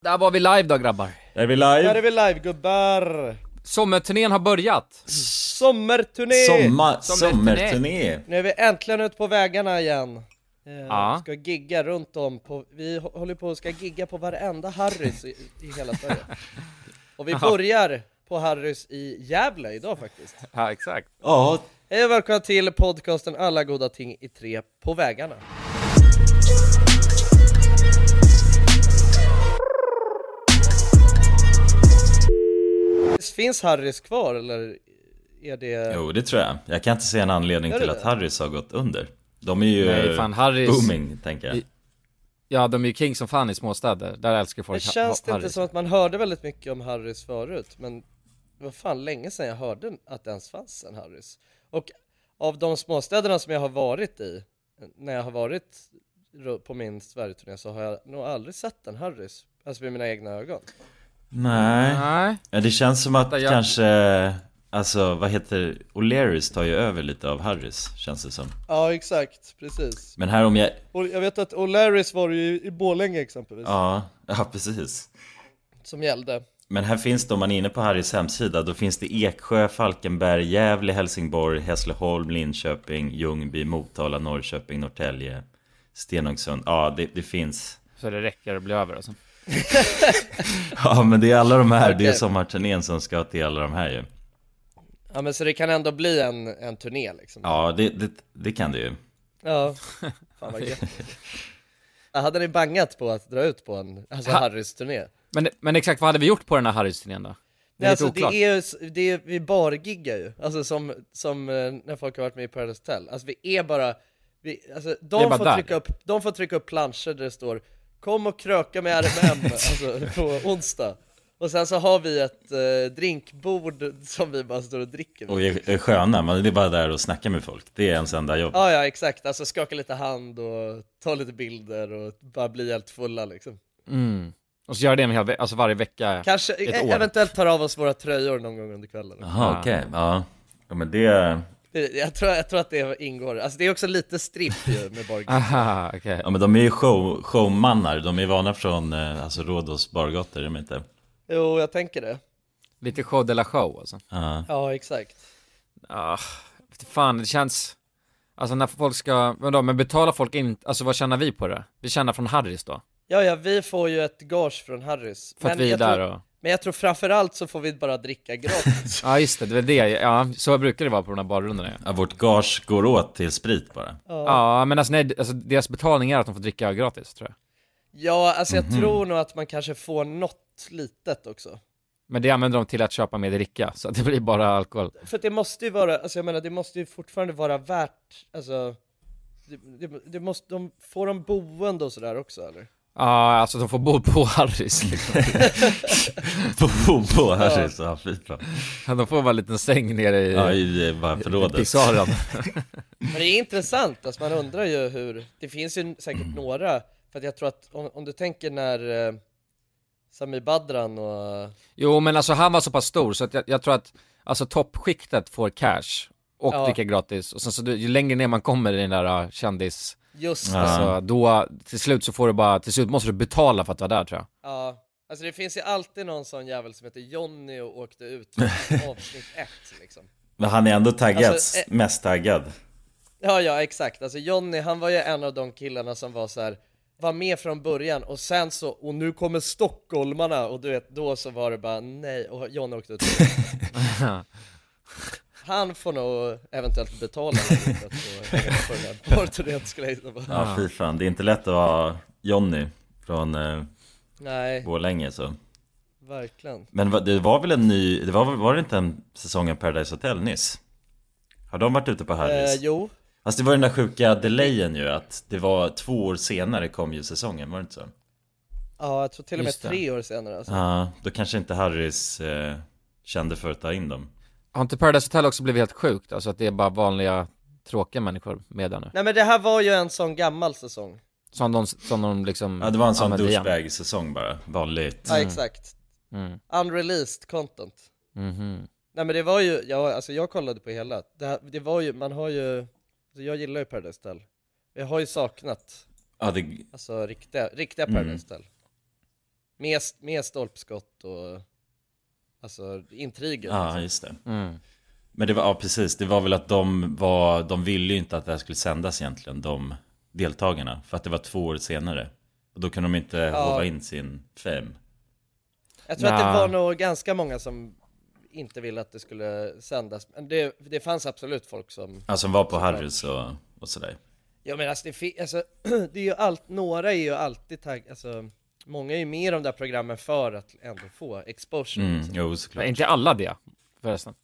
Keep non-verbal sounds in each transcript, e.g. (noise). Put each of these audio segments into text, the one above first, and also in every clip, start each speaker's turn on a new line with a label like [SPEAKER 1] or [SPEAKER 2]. [SPEAKER 1] Där var vi live då grabbar.
[SPEAKER 2] Är vi live?
[SPEAKER 3] Här är vi live gubbar!
[SPEAKER 1] Sommarturnén har börjat.
[SPEAKER 3] Sommarturné!
[SPEAKER 2] Sommar,
[SPEAKER 1] Sommarturné.
[SPEAKER 2] sommarturné!
[SPEAKER 3] Nu är vi äntligen ute på vägarna igen. Eh,
[SPEAKER 1] Ja.
[SPEAKER 3] Ska gigga runt om, på, vi hå- håller på och ska gigga på varenda Harrys i, i hela Sverige. Och vi börjar på Harrys i Gävle idag faktiskt.
[SPEAKER 1] Ja, exakt.
[SPEAKER 2] Ja,
[SPEAKER 3] Hej och välkomna till podcasten Alla goda ting i tre på vägarna. Finns Harrys kvar eller är det...
[SPEAKER 2] jo det tror jag. Jag kan inte se en anledning
[SPEAKER 3] Gör
[SPEAKER 2] till
[SPEAKER 3] det?
[SPEAKER 2] att Harrys har gått under. De är ju
[SPEAKER 1] Nej,
[SPEAKER 2] eh,
[SPEAKER 1] fan, Harrys-
[SPEAKER 2] booming, tänker jag.
[SPEAKER 1] I- Ja, de är ju king som fan i småstäder. Där älskar folk
[SPEAKER 3] Men känns det
[SPEAKER 1] ha-
[SPEAKER 3] inte
[SPEAKER 1] Harrys.
[SPEAKER 3] som att man hörde väldigt mycket om Harrys förut? Men det var fan länge sedan jag hörde att det ens fanns en Harrys. Och av de småstäderna som jag har varit i, när jag har varit ru- på min Sverigeturné så har jag nog aldrig sett en Harrys. Alltså med mina egna ögon.
[SPEAKER 2] Nej.
[SPEAKER 1] Nej.
[SPEAKER 2] Ja, det känns som att
[SPEAKER 1] Vänta, jag-
[SPEAKER 2] kanske... Alltså, vad heter... O'Learys tar ju över lite av Harrys, känns det som.
[SPEAKER 3] Ja exakt, precis.
[SPEAKER 2] Men här om jag...
[SPEAKER 3] Och jag vet att O'Larrys var ju i Borlänge exempelvis,
[SPEAKER 2] Ja, (laughs) ja precis.
[SPEAKER 3] som gällde.
[SPEAKER 2] Men här finns det, om man är inne på Harrys hemsida, då finns det Eksjö, Falkenberg, Gävle, Helsingborg, Hässleholm, Linköping, Ljungby, Motala, Norrköping, Norrtälje, Stenungsund. Ja, det, det finns.
[SPEAKER 1] Så det räcker att bli över alltså.
[SPEAKER 2] (laughs) Ja men det är alla de här, det är
[SPEAKER 3] Okej.
[SPEAKER 2] sommarturnén som ska till alla de här ju
[SPEAKER 3] Ja men så det kan ändå bli en, en turné liksom.
[SPEAKER 2] Ja det, det, det kan det ju (laughs)
[SPEAKER 3] Ja, fan vad gött. Ja, Hade ni bangat på att dra ut på en alltså,
[SPEAKER 1] Ha-
[SPEAKER 3] Harrys-turné?
[SPEAKER 1] Men, men exakt, vad hade vi gjort på den här Harrys-turnén då? Det
[SPEAKER 3] Nej,
[SPEAKER 1] är
[SPEAKER 3] alltså,
[SPEAKER 1] lite oklart.
[SPEAKER 3] det är ju, s- det är, vi bargiggar ju, alltså som, som eh, när folk har varit med i Paradise Hotel, alltså vi är bara, vi, alltså,
[SPEAKER 1] Vi är
[SPEAKER 3] de,
[SPEAKER 1] bara
[SPEAKER 3] får
[SPEAKER 1] där.
[SPEAKER 3] trycka upp, de får trycka upp planscher där det står 'Kom och kröka med RMM'
[SPEAKER 1] (laughs)
[SPEAKER 3] alltså, på onsdag Och sen så har vi ett eh, drinkbord som vi bara står och dricker vid
[SPEAKER 2] Och är, är sköna, man det är bara där och snackar med folk Det är ens enda jobb
[SPEAKER 3] Ja ja exakt, alltså skaka lite hand och ta lite bilder och bara bli helt fulla liksom
[SPEAKER 1] Mm. Och så gör det en hel ve- alltså varje vecka.
[SPEAKER 3] Kanske,
[SPEAKER 1] Ett
[SPEAKER 3] e-
[SPEAKER 1] år.
[SPEAKER 3] eventuellt tar av oss våra tröjor någon gång under kvällen
[SPEAKER 2] Jaha okej, ja Ja men det,
[SPEAKER 3] Det- Jag tror, jag tror att det ingår, alltså det är också lite stripp ju med bargig
[SPEAKER 1] Aha, okej.
[SPEAKER 2] ja men de är ju show, showmannar, de är vana från eh, alltså Rhodos bargator, är de inte?
[SPEAKER 3] Jo, jag tänker det.
[SPEAKER 1] Lite show de la show alltså.
[SPEAKER 2] Ja,
[SPEAKER 3] Ja, exakt.
[SPEAKER 1] Ah, fan, det känns... Alltså när folk ska, vadå, men betalar folk in, alltså vad tjänar vi på det? Vi tjänar från Harrys då?
[SPEAKER 3] Ja, ja, vi får ju ett gage från Harrys.
[SPEAKER 1] För att vi är
[SPEAKER 3] jag
[SPEAKER 1] där
[SPEAKER 3] tror,
[SPEAKER 1] och...
[SPEAKER 3] men jag tror framförallt så får vi bara
[SPEAKER 1] (laughs)
[SPEAKER 3] dricka gratis.
[SPEAKER 1] Ja just det, det är väl det, ja så brukar det vara på de här barrundorna ja.
[SPEAKER 2] ja vårt gage går åt till sprit bara (laughs)
[SPEAKER 1] Ja, men alltså, nej, alltså deras betalning är att de får dricka gratis tror jag.
[SPEAKER 3] ja, alltså jag
[SPEAKER 1] Mhm.
[SPEAKER 3] tror nog att man kanske får något litet också.
[SPEAKER 1] Men det använder de till att köpa mer dricka, så att det blir bara alkohol.
[SPEAKER 3] För att det måste ju vara, alltså jag menar det måste ju fortfarande vara värt, alltså det, det, det måste, de, får de boende och sådär också eller?
[SPEAKER 1] Ja, alltså de får bo på Harrys liksom.
[SPEAKER 2] På, på, på Harrys, ja fy
[SPEAKER 1] (laughs)
[SPEAKER 2] fan
[SPEAKER 1] De får bara en liten säng nere i,
[SPEAKER 2] Ja
[SPEAKER 1] i
[SPEAKER 2] i eh, bara förrådet
[SPEAKER 1] pisaren.
[SPEAKER 3] Men det är intressant, alltså man undrar ju hur, det finns ju säkert några, för att jag tror att om, om du tänker när eh, Sami Badran och eh,
[SPEAKER 1] Jo, men alltså han var så pass stor så att jag, jag tror att alltså toppskiktet får cash och
[SPEAKER 3] Ja.
[SPEAKER 1] dricka gratis. Och sen så du, ju längre ner man kommer i den där uh, kändis,
[SPEAKER 3] just
[SPEAKER 2] Ja.
[SPEAKER 1] alltså då till slut så får du bara, till slut måste du betala för att vara där tror jag.
[SPEAKER 3] Ja, alltså det finns ju alltid någon sån jävel som heter Jonny och åkte
[SPEAKER 1] (laughs)
[SPEAKER 3] ut från avsnitt ett liksom.
[SPEAKER 2] Men han är ändå taggad,
[SPEAKER 3] Alltså, eh-
[SPEAKER 2] mest taggad
[SPEAKER 3] Ja, ja, exakt. Alltså Jonny, han var ju en av de killarna som var så här var med från början och sen så, och nu kommer stockholmarna och du vet, då så var det bara nej, och Jonny åkte ut.
[SPEAKER 1] (laughs)
[SPEAKER 3] Han får nog eventuellt betala lite för att få hänga med på den här porturnén skulle jag gissa på.
[SPEAKER 2] Ja fy fan, det är inte lätt att vara Jonny från eh,
[SPEAKER 3] Nej,
[SPEAKER 2] Borlänge så
[SPEAKER 3] verkligen.
[SPEAKER 2] Men va- det var väl en ny, det var, väl- var det inte en säsong av Paradise Hotel nyss? Har de varit ute på
[SPEAKER 3] Eh,
[SPEAKER 2] Harrys?
[SPEAKER 3] jo,
[SPEAKER 2] Fast det var den där sjuka delayen ju att det var två år senare kom ju säsongen, var det inte så?
[SPEAKER 3] ja, jag tror till och med
[SPEAKER 1] Just det.
[SPEAKER 3] tre år senare alltså.
[SPEAKER 2] Ja, då kanske inte Harrys eh, kände för att ta in dem
[SPEAKER 1] Har inte Paradise Hotel också blivit helt sjukt? Alltså att det är bara vanliga tråkiga människor med där nu?
[SPEAKER 3] Nej men det här var ju en sån gammal säsong.
[SPEAKER 1] Som de, som de liksom
[SPEAKER 2] Ja det var en sån
[SPEAKER 1] använde igen.
[SPEAKER 2] douchebag-säsong bara, vanligt
[SPEAKER 3] Ja exakt,
[SPEAKER 1] Mm.
[SPEAKER 3] unreleased content
[SPEAKER 1] Mhm.
[SPEAKER 3] Nej men det var ju, ja, alltså jag kollade på hela, det, här, det var ju, man har ju, alltså jag gillar ju Paradise Hotel Jag har ju saknat,
[SPEAKER 2] Ja det,
[SPEAKER 3] alltså riktiga, riktiga
[SPEAKER 2] Mm.
[SPEAKER 3] Paradise Hotel Med, med stolpskott och alltså intriger.
[SPEAKER 2] Ja, just det.
[SPEAKER 1] Mm.
[SPEAKER 2] Men det var, ja precis, det var väl att de var, de ville ju inte att det här skulle sändas egentligen, de deltagarna. För att det var två år senare. Och då kunde de inte
[SPEAKER 3] Ja.
[SPEAKER 2] hova in sin fame.
[SPEAKER 3] Jag tror att
[SPEAKER 1] Nja.
[SPEAKER 3] det var nog ganska många som inte ville att det skulle sändas. Men det, det fanns absolut folk som
[SPEAKER 2] Alltså de var på Harrys och, och sådär.
[SPEAKER 3] Ja men alltså det finns, alltså, (clears throat) det är ju allt, några är ju alltid tagg, alltså Många är ju med i de där programmen för att ändå få exposure
[SPEAKER 2] Mm,
[SPEAKER 3] liksom.
[SPEAKER 2] jo
[SPEAKER 1] Nej,
[SPEAKER 2] såklart.
[SPEAKER 1] inte alla det, förresten.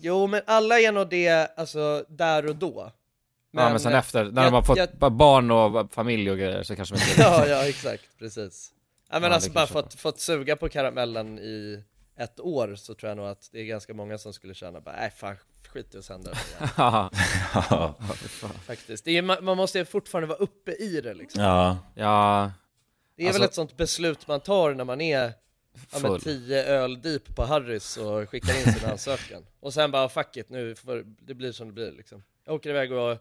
[SPEAKER 3] Jo men alla är nog det, alltså där och då
[SPEAKER 1] ja, men sen efter, när
[SPEAKER 3] jag-
[SPEAKER 1] de har fått
[SPEAKER 3] jag-
[SPEAKER 1] bara barn och familj och grejer så kanske de inte...
[SPEAKER 3] (laughs) Ja, ja exakt, precis Ja men
[SPEAKER 1] Ja,
[SPEAKER 3] alltså
[SPEAKER 1] det
[SPEAKER 3] bara
[SPEAKER 1] kanske
[SPEAKER 3] fått, fått suga på karamellen i ett år så tror jag nog att det är ganska många som skulle känna bara, nej fan skit i att sända det (laughs) igen",
[SPEAKER 1] ja,
[SPEAKER 2] Ja,
[SPEAKER 3] faktiskt det är, ju- man, man måste ju fortfarande vara uppe i det liksom
[SPEAKER 2] ja,
[SPEAKER 1] ja,
[SPEAKER 3] Det är
[SPEAKER 1] Alltså-
[SPEAKER 3] väl ett sånt beslut man tar när man är ja,
[SPEAKER 1] Full.
[SPEAKER 3] men 10 öl deep på Harrys och skickar in
[SPEAKER 1] (laughs)
[SPEAKER 3] sin ansökan. och sen bara fuck it, nu får, det blir som det blir liksom. Jag åker iväg och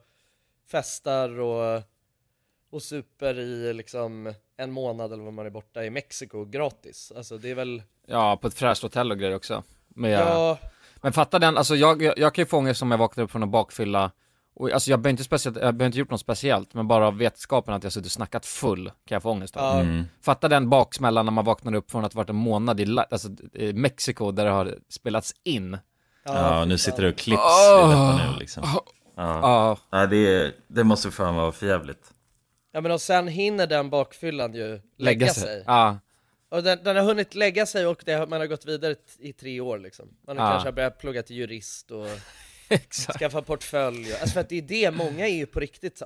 [SPEAKER 3] festar och, och super i liksom en månad eller vad man är borta i Mexiko gratis. Alltså det är väl,
[SPEAKER 1] ja, på ett fräscht hotell och grejer också. Med,
[SPEAKER 3] ja,
[SPEAKER 1] Men fatta den, alltså jag, jag, jag kan ju få ångest om jag vaknar upp från en bakfylla och, alltså jag behöver inte speciellt, jag behöver inte gjort något speciellt, men bara av vetskapen att jag suttit och snackat full kan jag få ångest av.
[SPEAKER 3] ja,
[SPEAKER 2] mm,
[SPEAKER 1] Fatta den baksmällan när man vaknar upp från att ha varit en månad i, la- alltså, i Mexiko där det har spelats in.
[SPEAKER 2] ja, nu
[SPEAKER 3] fy
[SPEAKER 2] sitter
[SPEAKER 3] fan.
[SPEAKER 2] det och klipps i detta
[SPEAKER 1] Åh.
[SPEAKER 2] nu liksom.
[SPEAKER 1] Ja,
[SPEAKER 2] Ja, ja det, är- det måste fan vara för jävligt.
[SPEAKER 3] Ja men och sen hinner den bakfyllan ju lägga,
[SPEAKER 1] lägga sig.
[SPEAKER 3] sig. (laughs)
[SPEAKER 1] Ja,
[SPEAKER 3] Och den, den har hunnit lägga sig och det, har- man har gått vidare t- i tre år liksom. Man har
[SPEAKER 1] Ja.
[SPEAKER 3] kanske har börjat plugga till jurist och
[SPEAKER 1] exakt.
[SPEAKER 3] skaffa portfölj. och- Alltså för att det är det, många är ju på riktigt så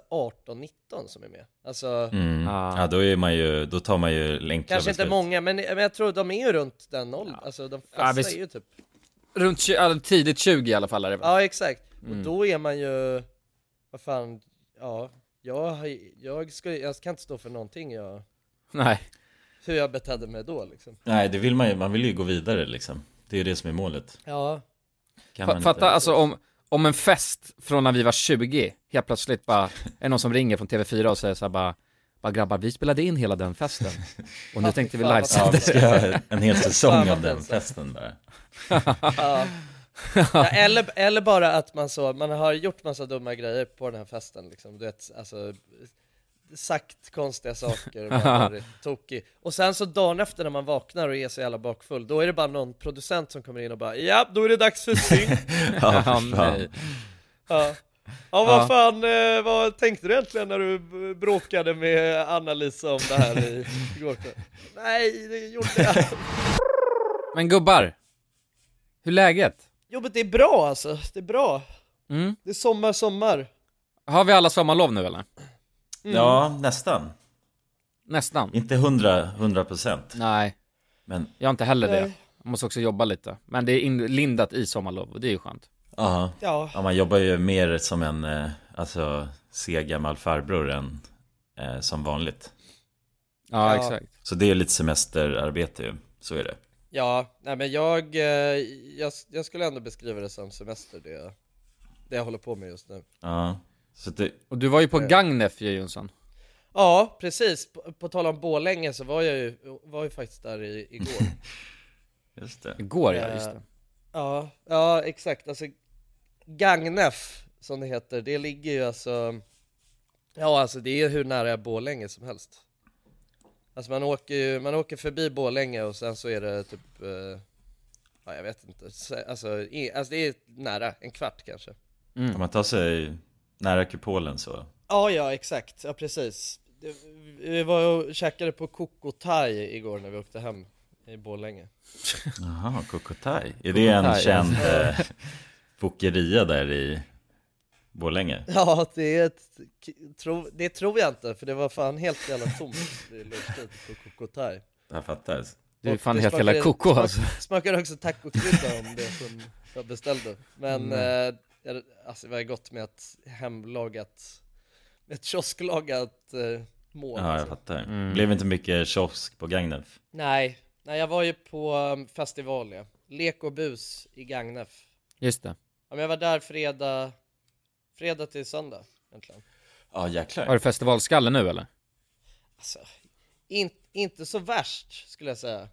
[SPEAKER 3] 18-19 som är med. Alltså,
[SPEAKER 2] Mm.
[SPEAKER 1] Ja.
[SPEAKER 2] Ja, då är man ju, då tar man ju länkar
[SPEAKER 3] kanske inte många, men, men jag tror de är ju runt den åldern. Alltså de flesta
[SPEAKER 1] Ja, visst.
[SPEAKER 3] är ju typ,
[SPEAKER 1] Runt 20, eller tidigt 20 i alla fall är det väl?
[SPEAKER 3] ja exakt.
[SPEAKER 1] Mm.
[SPEAKER 3] Och då är man ju, vad fan, ja, jag, har- jag, ska, jag kan inte stå för någonting jag,
[SPEAKER 1] Nej.
[SPEAKER 3] hur jag betedde mig då liksom.
[SPEAKER 2] Nej, det vill man ju, man vill ju gå vidare liksom. Det är ju det som är målet.
[SPEAKER 3] Ja,
[SPEAKER 2] Kan man
[SPEAKER 1] Fa-
[SPEAKER 2] inte-
[SPEAKER 1] fatta alltså om, om en fest från när vi var 20, helt plötsligt
[SPEAKER 2] (laughs)
[SPEAKER 1] bara, är någon som ringer från TV4 och säger så här bara, bara grabbar, vi spelade in hela den festen.
[SPEAKER 2] (laughs)
[SPEAKER 1] Och nu tänkte vi
[SPEAKER 3] Fan, vad
[SPEAKER 2] Ja,
[SPEAKER 1] livesända.
[SPEAKER 2] vi ska göra en hel
[SPEAKER 3] Fan,
[SPEAKER 2] säsong
[SPEAKER 3] vad
[SPEAKER 2] av den
[SPEAKER 1] alltså.
[SPEAKER 3] pinsamt.
[SPEAKER 1] (laughs)
[SPEAKER 2] festen bara.
[SPEAKER 3] ja. ja eller, eller bara att man så, man har gjort massa dumma grejer på den här festen liksom, du vet, alltså sagt konstiga saker, man har varit tokig. Och sen så dagen efter när man vaknar och är så jävla bakfull, då är det bara någon producent som kommer in och bara ja, då är det dags för synk.
[SPEAKER 2] Ja,
[SPEAKER 1] Ja,
[SPEAKER 2] för
[SPEAKER 1] nej.
[SPEAKER 2] fan.
[SPEAKER 3] Ja. Ja vad
[SPEAKER 1] Ja.
[SPEAKER 3] fan, eh, vad tänkte du egentligen när du b- bråkade med Anna-Lisa om det här i- igår kväll? Nej, det gjorde jag
[SPEAKER 1] Men gubbar, hur är läget?
[SPEAKER 3] Jo men det är bra alltså, det är bra.
[SPEAKER 1] Mm.
[SPEAKER 3] Det är sommar, sommar.
[SPEAKER 1] Har vi alla sommarlov nu eller? Mm.
[SPEAKER 2] Ja, nästan.
[SPEAKER 1] Nästan.
[SPEAKER 2] Inte hundra, hundra procent.
[SPEAKER 1] Nej,
[SPEAKER 2] Men,
[SPEAKER 1] jag har inte heller det.
[SPEAKER 3] Nej.
[SPEAKER 1] Jag måste också jobba lite. Men det är inlindat i sommarlov och det är ju skönt.
[SPEAKER 2] ja.
[SPEAKER 3] Ja,
[SPEAKER 2] ja. Man jobbar ju mer som en, eh, alltså, seg gammal farbror än eh, som vanligt.
[SPEAKER 1] Ja,
[SPEAKER 3] Ja.
[SPEAKER 1] exakt.
[SPEAKER 2] Så det är lite semesterarbete ju. Så är det.
[SPEAKER 3] Ja, nej men jag, eh, jag, jag skulle ändå beskriva det som semester det, jag- det jag håller på med just nu.
[SPEAKER 2] Ja. Så det,
[SPEAKER 1] Och du var ju på Gagnef ju Jonsson.
[SPEAKER 3] Ja, precis. På, på tal om Borlänge så var jag ju, var ju faktiskt där i, igår.
[SPEAKER 2] just det.
[SPEAKER 1] Igår ja,
[SPEAKER 3] Eh,
[SPEAKER 1] just det.
[SPEAKER 3] ja, ja, exakt. Alltså, Gagnef, som det heter, det ligger ju alltså, ja alltså det är hur nära Borlänge som helst. Alltså man åker ju, man åker förbi Borlänge och sen så är det typ, eh, ja jag vet inte, Sä- alltså, i, alltså det är nära, en kvart kanske.
[SPEAKER 2] Kan man ta sig nära kupolen så?
[SPEAKER 3] Ja, ja, exakt. Ja, precis. Det- Vi var och käkade på Kokotaj igår när vi åkte hem i Borlänge.
[SPEAKER 2] Jaha, Kokotaj. Är det en
[SPEAKER 1] Kokotaj, ja.
[SPEAKER 2] känd eh, bokeria där i Borlänge?
[SPEAKER 3] (laughs) Ja, det är ett, k- tro, det tror jag inte, för det var fan helt jävla tomt i lunchtid på Kokotaj.
[SPEAKER 2] Jag fattar.
[SPEAKER 1] Du är
[SPEAKER 3] Och
[SPEAKER 1] fan
[SPEAKER 3] det
[SPEAKER 1] helt jävla
[SPEAKER 3] smakade-
[SPEAKER 1] koko
[SPEAKER 3] smak-
[SPEAKER 1] alltså.
[SPEAKER 3] Smakade också tacokrydda om det som jag beställde. Men eh, jag- alltså, det var gott med ett hemlagat, med ett kiosklagat eh, mål.
[SPEAKER 2] Ja, jag
[SPEAKER 3] alltså.
[SPEAKER 2] fattar. Blev inte mycket kiosk på Gagnef.
[SPEAKER 3] Nej, nej jag var ju på um, festival ja. Lek och bus i Gagnef.
[SPEAKER 1] Just det.
[SPEAKER 3] Ja, men jag var där fredag, fredag till söndag egentligen.
[SPEAKER 2] Ja, jäklar.
[SPEAKER 1] Har du festivalskalle nu eller?
[SPEAKER 3] Alltså, in, inte så värst skulle jag säga.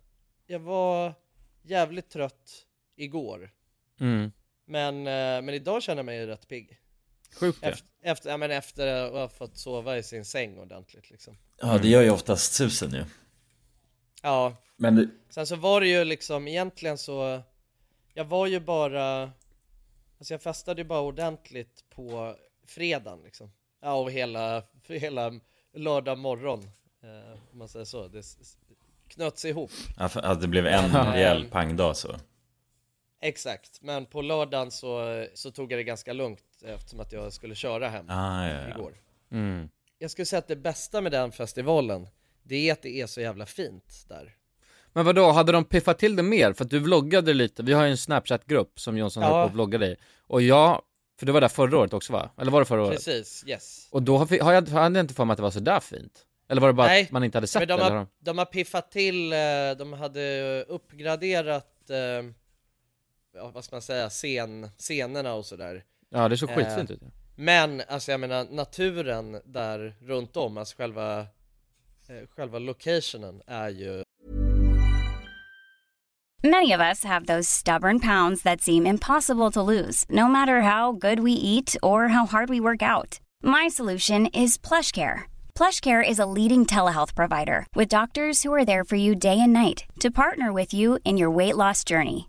[SPEAKER 3] Jag var jävligt trött igår,
[SPEAKER 1] Mm.
[SPEAKER 3] men, eh, men idag känner jag mig rätt pigg.
[SPEAKER 1] Sjukt det.
[SPEAKER 3] Efter, efter, ja, men efter att ha fått sova i sin säng ordentligt liksom.
[SPEAKER 4] Ja, det gör ju oftast susen ju.
[SPEAKER 3] Ja,
[SPEAKER 4] Men det,
[SPEAKER 3] Sen så var det ju liksom egentligen så Jag var ju bara Alltså jag festade ju bara ordentligt på fredagen liksom Ja och hela, för hela lördag morgon eh, Om man säger så, det s- s- knöts ihop
[SPEAKER 4] ja, för- ja, det blev en
[SPEAKER 3] Ja.
[SPEAKER 4] rejäl pangdag så.
[SPEAKER 3] Exakt, men på lördagen så, så tog jag det ganska lugnt eftersom att jag skulle köra hem
[SPEAKER 4] Ah, ja, ja.
[SPEAKER 3] igår
[SPEAKER 1] Mm.
[SPEAKER 3] Jag skulle säga att det bästa med den festivalen Det är att det är så jävla fint där
[SPEAKER 1] Men vadå, hade de piffat till det mer? För att du vloggade lite, vi har ju en Snapchat-grupp som Jonsson
[SPEAKER 3] Ja.
[SPEAKER 1] håller på och vloggar i. Och jag, för du var där förra året också va? Eller var det förra året?
[SPEAKER 3] Precis, yes
[SPEAKER 1] Och då har, vi, har jag, hade jag inte för mig att det var sådär fint. Eller var det bara
[SPEAKER 3] Nej,
[SPEAKER 1] att man inte hade sett
[SPEAKER 3] Men de,
[SPEAKER 1] det? Eller de...
[SPEAKER 3] har, de har piffat till, eh, de hade uppgraderat, eh, ja, vad ska man säga, scen, scenerna och sådär.
[SPEAKER 1] Ja, det såg
[SPEAKER 3] Eh,
[SPEAKER 1] skitfint ut. ja.
[SPEAKER 3] Men alltså jag menar naturen där runt om, alltså själva, eh, själva locationen är ju
[SPEAKER 5] Many of us have those stubborn pounds that seem impossible to lose, no matter how good we eat or how hard we work out. My solution is PlushCare. PlushCare is a leading telehealth provider with doctors who are there for you day and night to partner with you in your weight loss journey.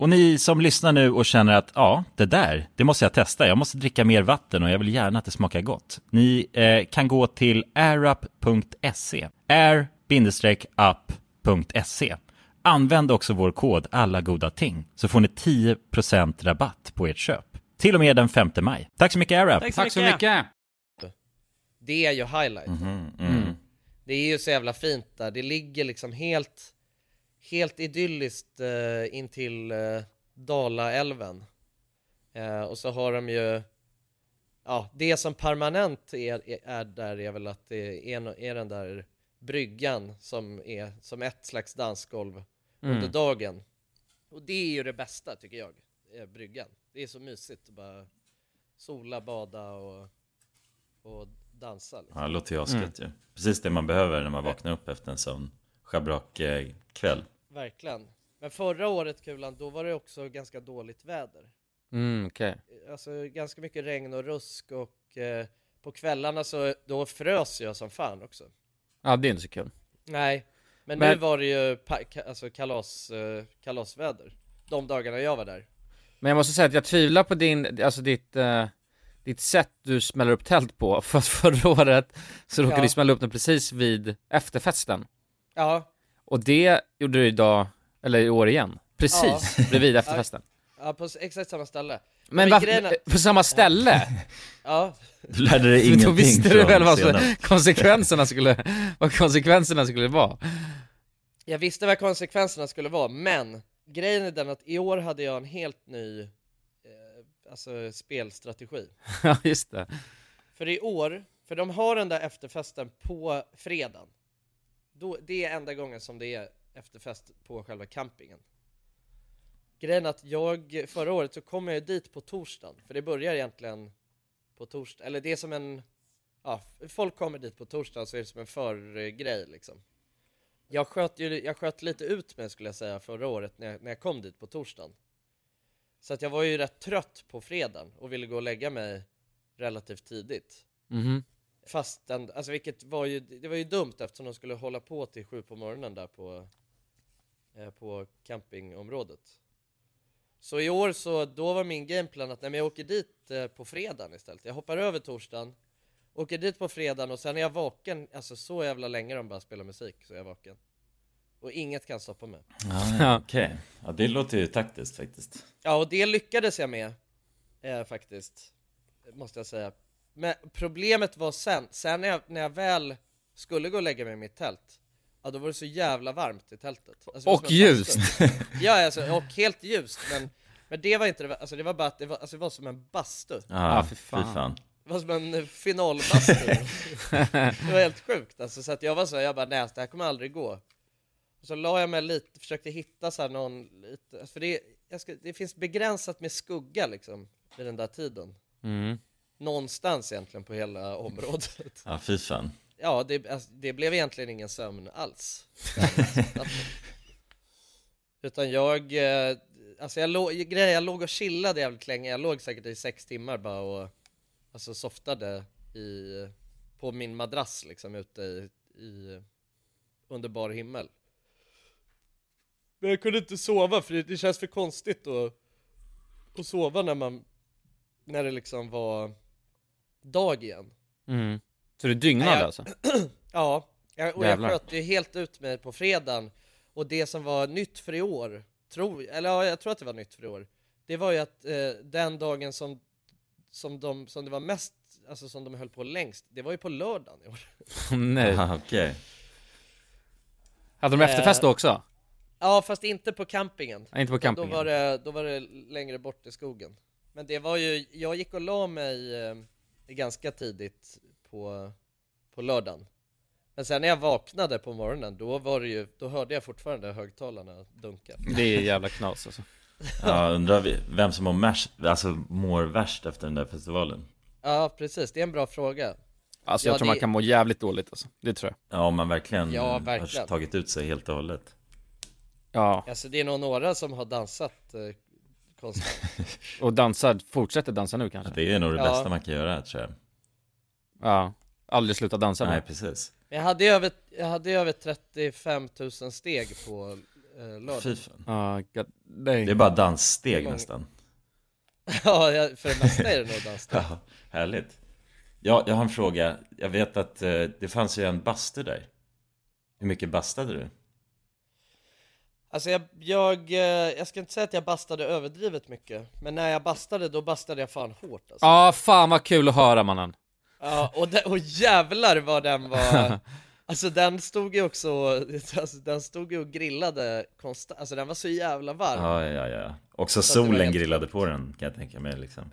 [SPEAKER 6] Och ni som lyssnar nu och känner att ja, det där, det måste jag testa. Jag måste dricka mer vatten och jag vill gärna att det smakar gott. Ni eh, kan gå till airup.se. air-up.se. Använd också vår kod alla goda ting så får ni 10% rabatt på ert köp. Till och med den 5 maj. Tack så mycket AirUp.
[SPEAKER 1] Tack så mycket!
[SPEAKER 3] Det är ju highlight.
[SPEAKER 6] Mhm, mm.
[SPEAKER 3] Det är ju så jävla fint där, det ligger liksom helt, helt idylliskt eh, intill eh, Dalaälven. Eh, och så har de ju, ja det som permanent är, är- är där är väl att det är, no- är den där bryggan som är som ett slags dansgolv under dagen. Och det är ju det bästa tycker jag, eh, bryggan. Det är så mysigt att bara sola, bada och, och dansa. Liksom.
[SPEAKER 6] Ja, det låter ju asgött ju.
[SPEAKER 7] Mm.
[SPEAKER 6] Precis det man behöver när man vaknar upp efter en sån
[SPEAKER 7] (laughs)
[SPEAKER 6] schabrak-kväll.
[SPEAKER 3] Verkligen. Men förra året Kulan, då var det också ganska dåligt väder.
[SPEAKER 7] Mm, okej.
[SPEAKER 3] Alltså ganska mycket regn och rusk och eh, på kvällarna så då frös jag som fan också.
[SPEAKER 7] Ja, det är inte så kul.
[SPEAKER 3] Nej, men, nu
[SPEAKER 7] Men-
[SPEAKER 3] var det ju pa- ka- alltså kalas, eh, kalasväder. De dagarna jag var där.
[SPEAKER 7] Men jag måste säga att jag tvivlar på din, alltså ditt, eh, ditt sätt du smäller upp tält på, (laughs) för att förra året så råkade
[SPEAKER 3] Ja.
[SPEAKER 7] du smälla upp den precis vid efterfesten.
[SPEAKER 3] Ja,
[SPEAKER 7] Och det gjorde du idag, eller i år igen, precis bredvid efterfesten.
[SPEAKER 3] (laughs) ja på s- exakt samma ställe.
[SPEAKER 7] Men
[SPEAKER 3] Men
[SPEAKER 7] varför,
[SPEAKER 3] grejen är-
[SPEAKER 7] på samma ställe?
[SPEAKER 3] Ja,
[SPEAKER 6] Du lärde dig
[SPEAKER 7] (laughs) Då
[SPEAKER 6] ingenting
[SPEAKER 7] visste du
[SPEAKER 6] från
[SPEAKER 7] väl vad,
[SPEAKER 6] senast.
[SPEAKER 7] (laughs) konsekvenserna skulle, vad konsekvenserna skulle vara? (laughs)
[SPEAKER 3] jag visste vad konsekvenserna skulle vara, men grejen är den att i år hade jag en helt ny eh, alltså, spelstrategi.
[SPEAKER 7] Ja, just det.
[SPEAKER 3] För i år, för de har den där efterfesten på fredagen. Då, det är enda gången som det är efterfest på själva campingen. Grejen är att jag, förra året så kom jag ju dit på torsdagen, för det börjar egentligen på torsdag, eller det är som en, ja, folk kommer dit på torsdagen så är det som en förgrej liksom. Jag sköt, ju, jag sköt lite ut mig skulle jag säga förra året när jag, när jag kom dit på torsdagen. Så att jag var ju rätt trött på fredagen och ville gå och lägga mig relativt tidigt.
[SPEAKER 7] Mhm.
[SPEAKER 3] Fast den, alltså vilket var ju, det var ju dumt eftersom de skulle hålla på till sju på morgonen där på, eh, på campingområdet. Så i år så, då var min gameplan att nej, men jag åker dit eh, på fredagen istället. Jag hoppar över torsdagen, åker dit på fredagen och sen är jag vaken, alltså så jävla länge de bara spelar musik så är jag vaken. Och inget kan stoppa mig.
[SPEAKER 2] Ja, Okej, ja, det låter ju taktiskt faktiskt.
[SPEAKER 3] Ja, och det lyckades jag med eh, faktiskt, måste jag säga. Men problemet var sen, sen när jag, när jag väl skulle gå och lägga mig i mitt tält, ja då var det så jävla varmt i tältet. Alltså, det var
[SPEAKER 1] Och
[SPEAKER 3] som en
[SPEAKER 1] ljust.
[SPEAKER 3] bastu. ja, alltså, och helt ljust, men, men det var inte det, alltså det var bara att det var, alltså, det var som en bastu.
[SPEAKER 2] Ja, fy fan.
[SPEAKER 3] Det var som en eh, finalbastu. det var helt sjukt alltså, så att jag var så, jag bara nej alltså, det här kommer aldrig gå. Och så la jag mig lite, försökte hitta så här någon lite, för det, jag ska, det finns begränsat med skugga liksom, vid den där tiden.
[SPEAKER 7] mhm,
[SPEAKER 2] Mm.
[SPEAKER 3] Någonstans egentligen på hela området.
[SPEAKER 2] Ja, fy fan.
[SPEAKER 3] Ja, det, alltså, det blev egentligen ingen sömn alls. Utan jag, eh, alltså jag, låg, grejen, jag låg och chillade jävligt länge, jag låg säkert i sex timmar bara och alltså softade i, på min madrass liksom ute i, i under bar himmel. Men jag kunde inte sova för det, det känns för konstigt att, att sova när man, när det liksom var dag igen.
[SPEAKER 7] mhm.
[SPEAKER 1] Mm. Så du dygnade
[SPEAKER 3] Nej,
[SPEAKER 7] (laughs)
[SPEAKER 3] jag-
[SPEAKER 1] alltså?
[SPEAKER 3] Ja, jag, och jag
[SPEAKER 1] Jävlar.
[SPEAKER 3] sköt ju helt ut mig på fredagen Och det som var nytt för i år, tror, eller ja, jag tror att det var nytt för i år Det var ju att eh, den dagen som, som, de, som det var mest, alltså som de höll på längst Det var ju på lördagen i år
[SPEAKER 1] Nej.
[SPEAKER 2] Ja, (laughs) Okej.
[SPEAKER 1] Hade de efterfest då också?
[SPEAKER 3] Ja, fast inte på campingen
[SPEAKER 1] Nej, inte på
[SPEAKER 3] Utan Då
[SPEAKER 1] campingen.
[SPEAKER 3] var, det, då var det längre bort i skogen Men det var ju, jag gick och la mig eh, ganska tidigt på, på lördagen men sen när jag vaknade på morgonen, då var det ju, då hörde jag fortfarande högtalarna dunka
[SPEAKER 1] Det är jävla knas alltså.
[SPEAKER 2] Ja, undrar vi- vem som mår, mers, alltså, mår värst efter den där festivalen?
[SPEAKER 3] Ja precis, det är en bra fråga
[SPEAKER 1] Alltså
[SPEAKER 3] Ja,
[SPEAKER 1] jag tror man
[SPEAKER 3] det-
[SPEAKER 1] kan må jävligt dåligt alltså. Det tror jag.
[SPEAKER 2] Ja, om man verkligen,
[SPEAKER 3] Ja,
[SPEAKER 2] eh,
[SPEAKER 3] verkligen.
[SPEAKER 2] har tagit ut sig helt och hållet.
[SPEAKER 1] Ja,
[SPEAKER 3] Alltså det är nog några som har dansat eh, konstant
[SPEAKER 1] och dansar, fortsätter dansa nu kanske.
[SPEAKER 2] Det är nog det
[SPEAKER 3] Ja.
[SPEAKER 2] bästa man kan göra, tror jag.
[SPEAKER 1] Ja, aldrig sluta dansa
[SPEAKER 2] Nej,
[SPEAKER 1] nu.
[SPEAKER 2] precis.
[SPEAKER 3] Men jag hade ju över, jag hade ju över 35 000 steg på eh,
[SPEAKER 2] Fy
[SPEAKER 3] lördag
[SPEAKER 2] fan.
[SPEAKER 1] Ja, god
[SPEAKER 2] Det är
[SPEAKER 1] dang.
[SPEAKER 2] bara danssteg nästan.
[SPEAKER 3] (laughs)
[SPEAKER 2] (laughs)
[SPEAKER 3] Ja, jag- för det mesta är det nog danssteg
[SPEAKER 2] Ja, härligt. Ja, jag har en fråga. Jag vet att eh, det fanns ju en bastu där. Hur mycket bastade du?
[SPEAKER 3] Alltså jag, jag, eh, jag ska inte säga att jag bastade överdrivet mycket Men när jag bastade, då bastade jag fan hårt alltså.
[SPEAKER 1] Ja, fan vad kul att höra mannen.
[SPEAKER 3] Ja, och, de, och jävlar vad den var Alltså den stod ju också, (laughs) alltså, den stod ju och grillade konstant, alltså den var så jävla varm
[SPEAKER 2] Ja, ja, ja. Också
[SPEAKER 3] Så att det var
[SPEAKER 2] solen
[SPEAKER 3] helt
[SPEAKER 2] grillade på den, kan jag tänka mig liksom.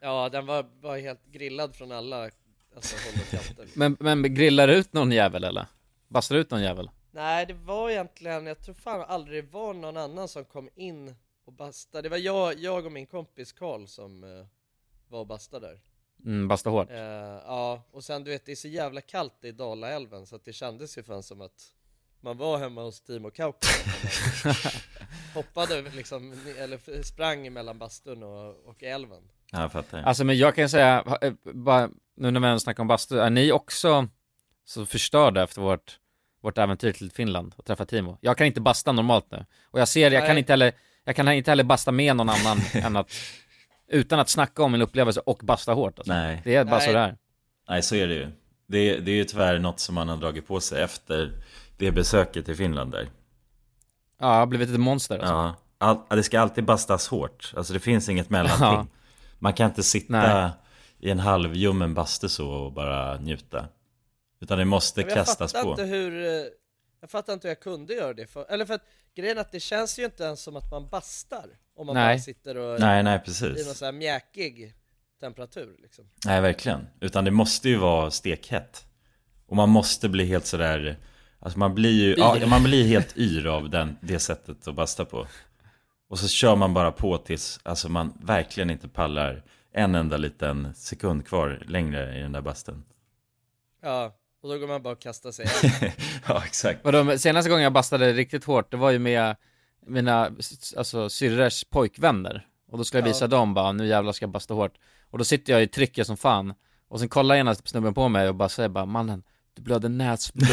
[SPEAKER 3] Ja, den var, var helt grillad från alla alltså, håll och kanter.
[SPEAKER 1] Men, men grillar du ut någon jävel eller? Bastar du ut någon jävel?
[SPEAKER 3] Nej, det var egentligen, jag tror fan aldrig det var någon annan som kom in och bastade. Det var jag, jag och min kompis Karl som eh, var och bastade där.
[SPEAKER 1] Mm, basta hårt.
[SPEAKER 3] Eh, ja, och sen du vet, det är så jävla kallt i Dalaälven så att det kändes ju fan som att man var hemma hos Timo
[SPEAKER 2] (laughs)
[SPEAKER 3] Kaukanen. Hoppade liksom, eller sprang mellan bastun och, och älven.
[SPEAKER 2] Ja, jag fattar.
[SPEAKER 1] Alltså men jag kan ju säga, ha- eh, bara, nu när vi ändå snackar om bastu, är ni också så förstörda efter vårt, vårt äventyr till Finland och träffa Timo? Jag kan inte basta normalt nu, och jag ser, jag kan
[SPEAKER 3] Nej.
[SPEAKER 1] inte heller, jag kan inte heller basta med någon annan (laughs) än att, utan att snacka om min upplevelse och basta hårt alltså.
[SPEAKER 2] Nej.
[SPEAKER 1] Det är bara
[SPEAKER 3] Nej.
[SPEAKER 1] så det är.
[SPEAKER 2] Nej, så är det ju. Det, det är ju tyvärr något som man har dragit på sig efter det besöket i Finland där.
[SPEAKER 1] Ja, jag har blivit ett monster alltså.
[SPEAKER 2] Ja, all, det ska alltid bastas hårt. Alltså det finns inget mellanting.
[SPEAKER 1] Ja.
[SPEAKER 2] Man kan inte sitta
[SPEAKER 1] Nej.
[SPEAKER 2] i en halvljummen bastu så och bara njuta. Utan det måste
[SPEAKER 3] Men jag
[SPEAKER 2] kastas
[SPEAKER 3] fattar
[SPEAKER 2] på.
[SPEAKER 3] inte hur, eh, jag fattar inte hur jag kunde göra det för, eller för att grejen är att det känns ju inte ens som att man bastar om man
[SPEAKER 1] Nej.
[SPEAKER 3] bara sitter och
[SPEAKER 2] Nej, nej,
[SPEAKER 3] i någon
[SPEAKER 2] precis.
[SPEAKER 3] sån här mjäkig temperatur liksom.
[SPEAKER 2] Nej, verkligen. Utan det måste ju vara stekhett. Och man måste bli helt sådär... Alltså man blir ju... Ja, man blir helt yr av den, det sättet att basta på. Och så kör man bara på tills alltså man verkligen inte pallar en enda liten sekund kvar längre i den där basten.
[SPEAKER 3] Ja, och då går man bara och kastar sig.
[SPEAKER 2] (laughs) ja, exakt.
[SPEAKER 1] Vadå, men senaste gången jag bastade riktigt hårt, det var ju med mina, s- alltså syrrers pojkvänner. Och då skulle jag
[SPEAKER 3] Ja.
[SPEAKER 1] visa dem bara, nu jävlar ska jag basta hårt. Och då sitter jag i trycket som fan. Och sen kollar ena snubben på mig och bara säger bara, mannen, du blöder
[SPEAKER 3] (laughs)
[SPEAKER 1] näsblod.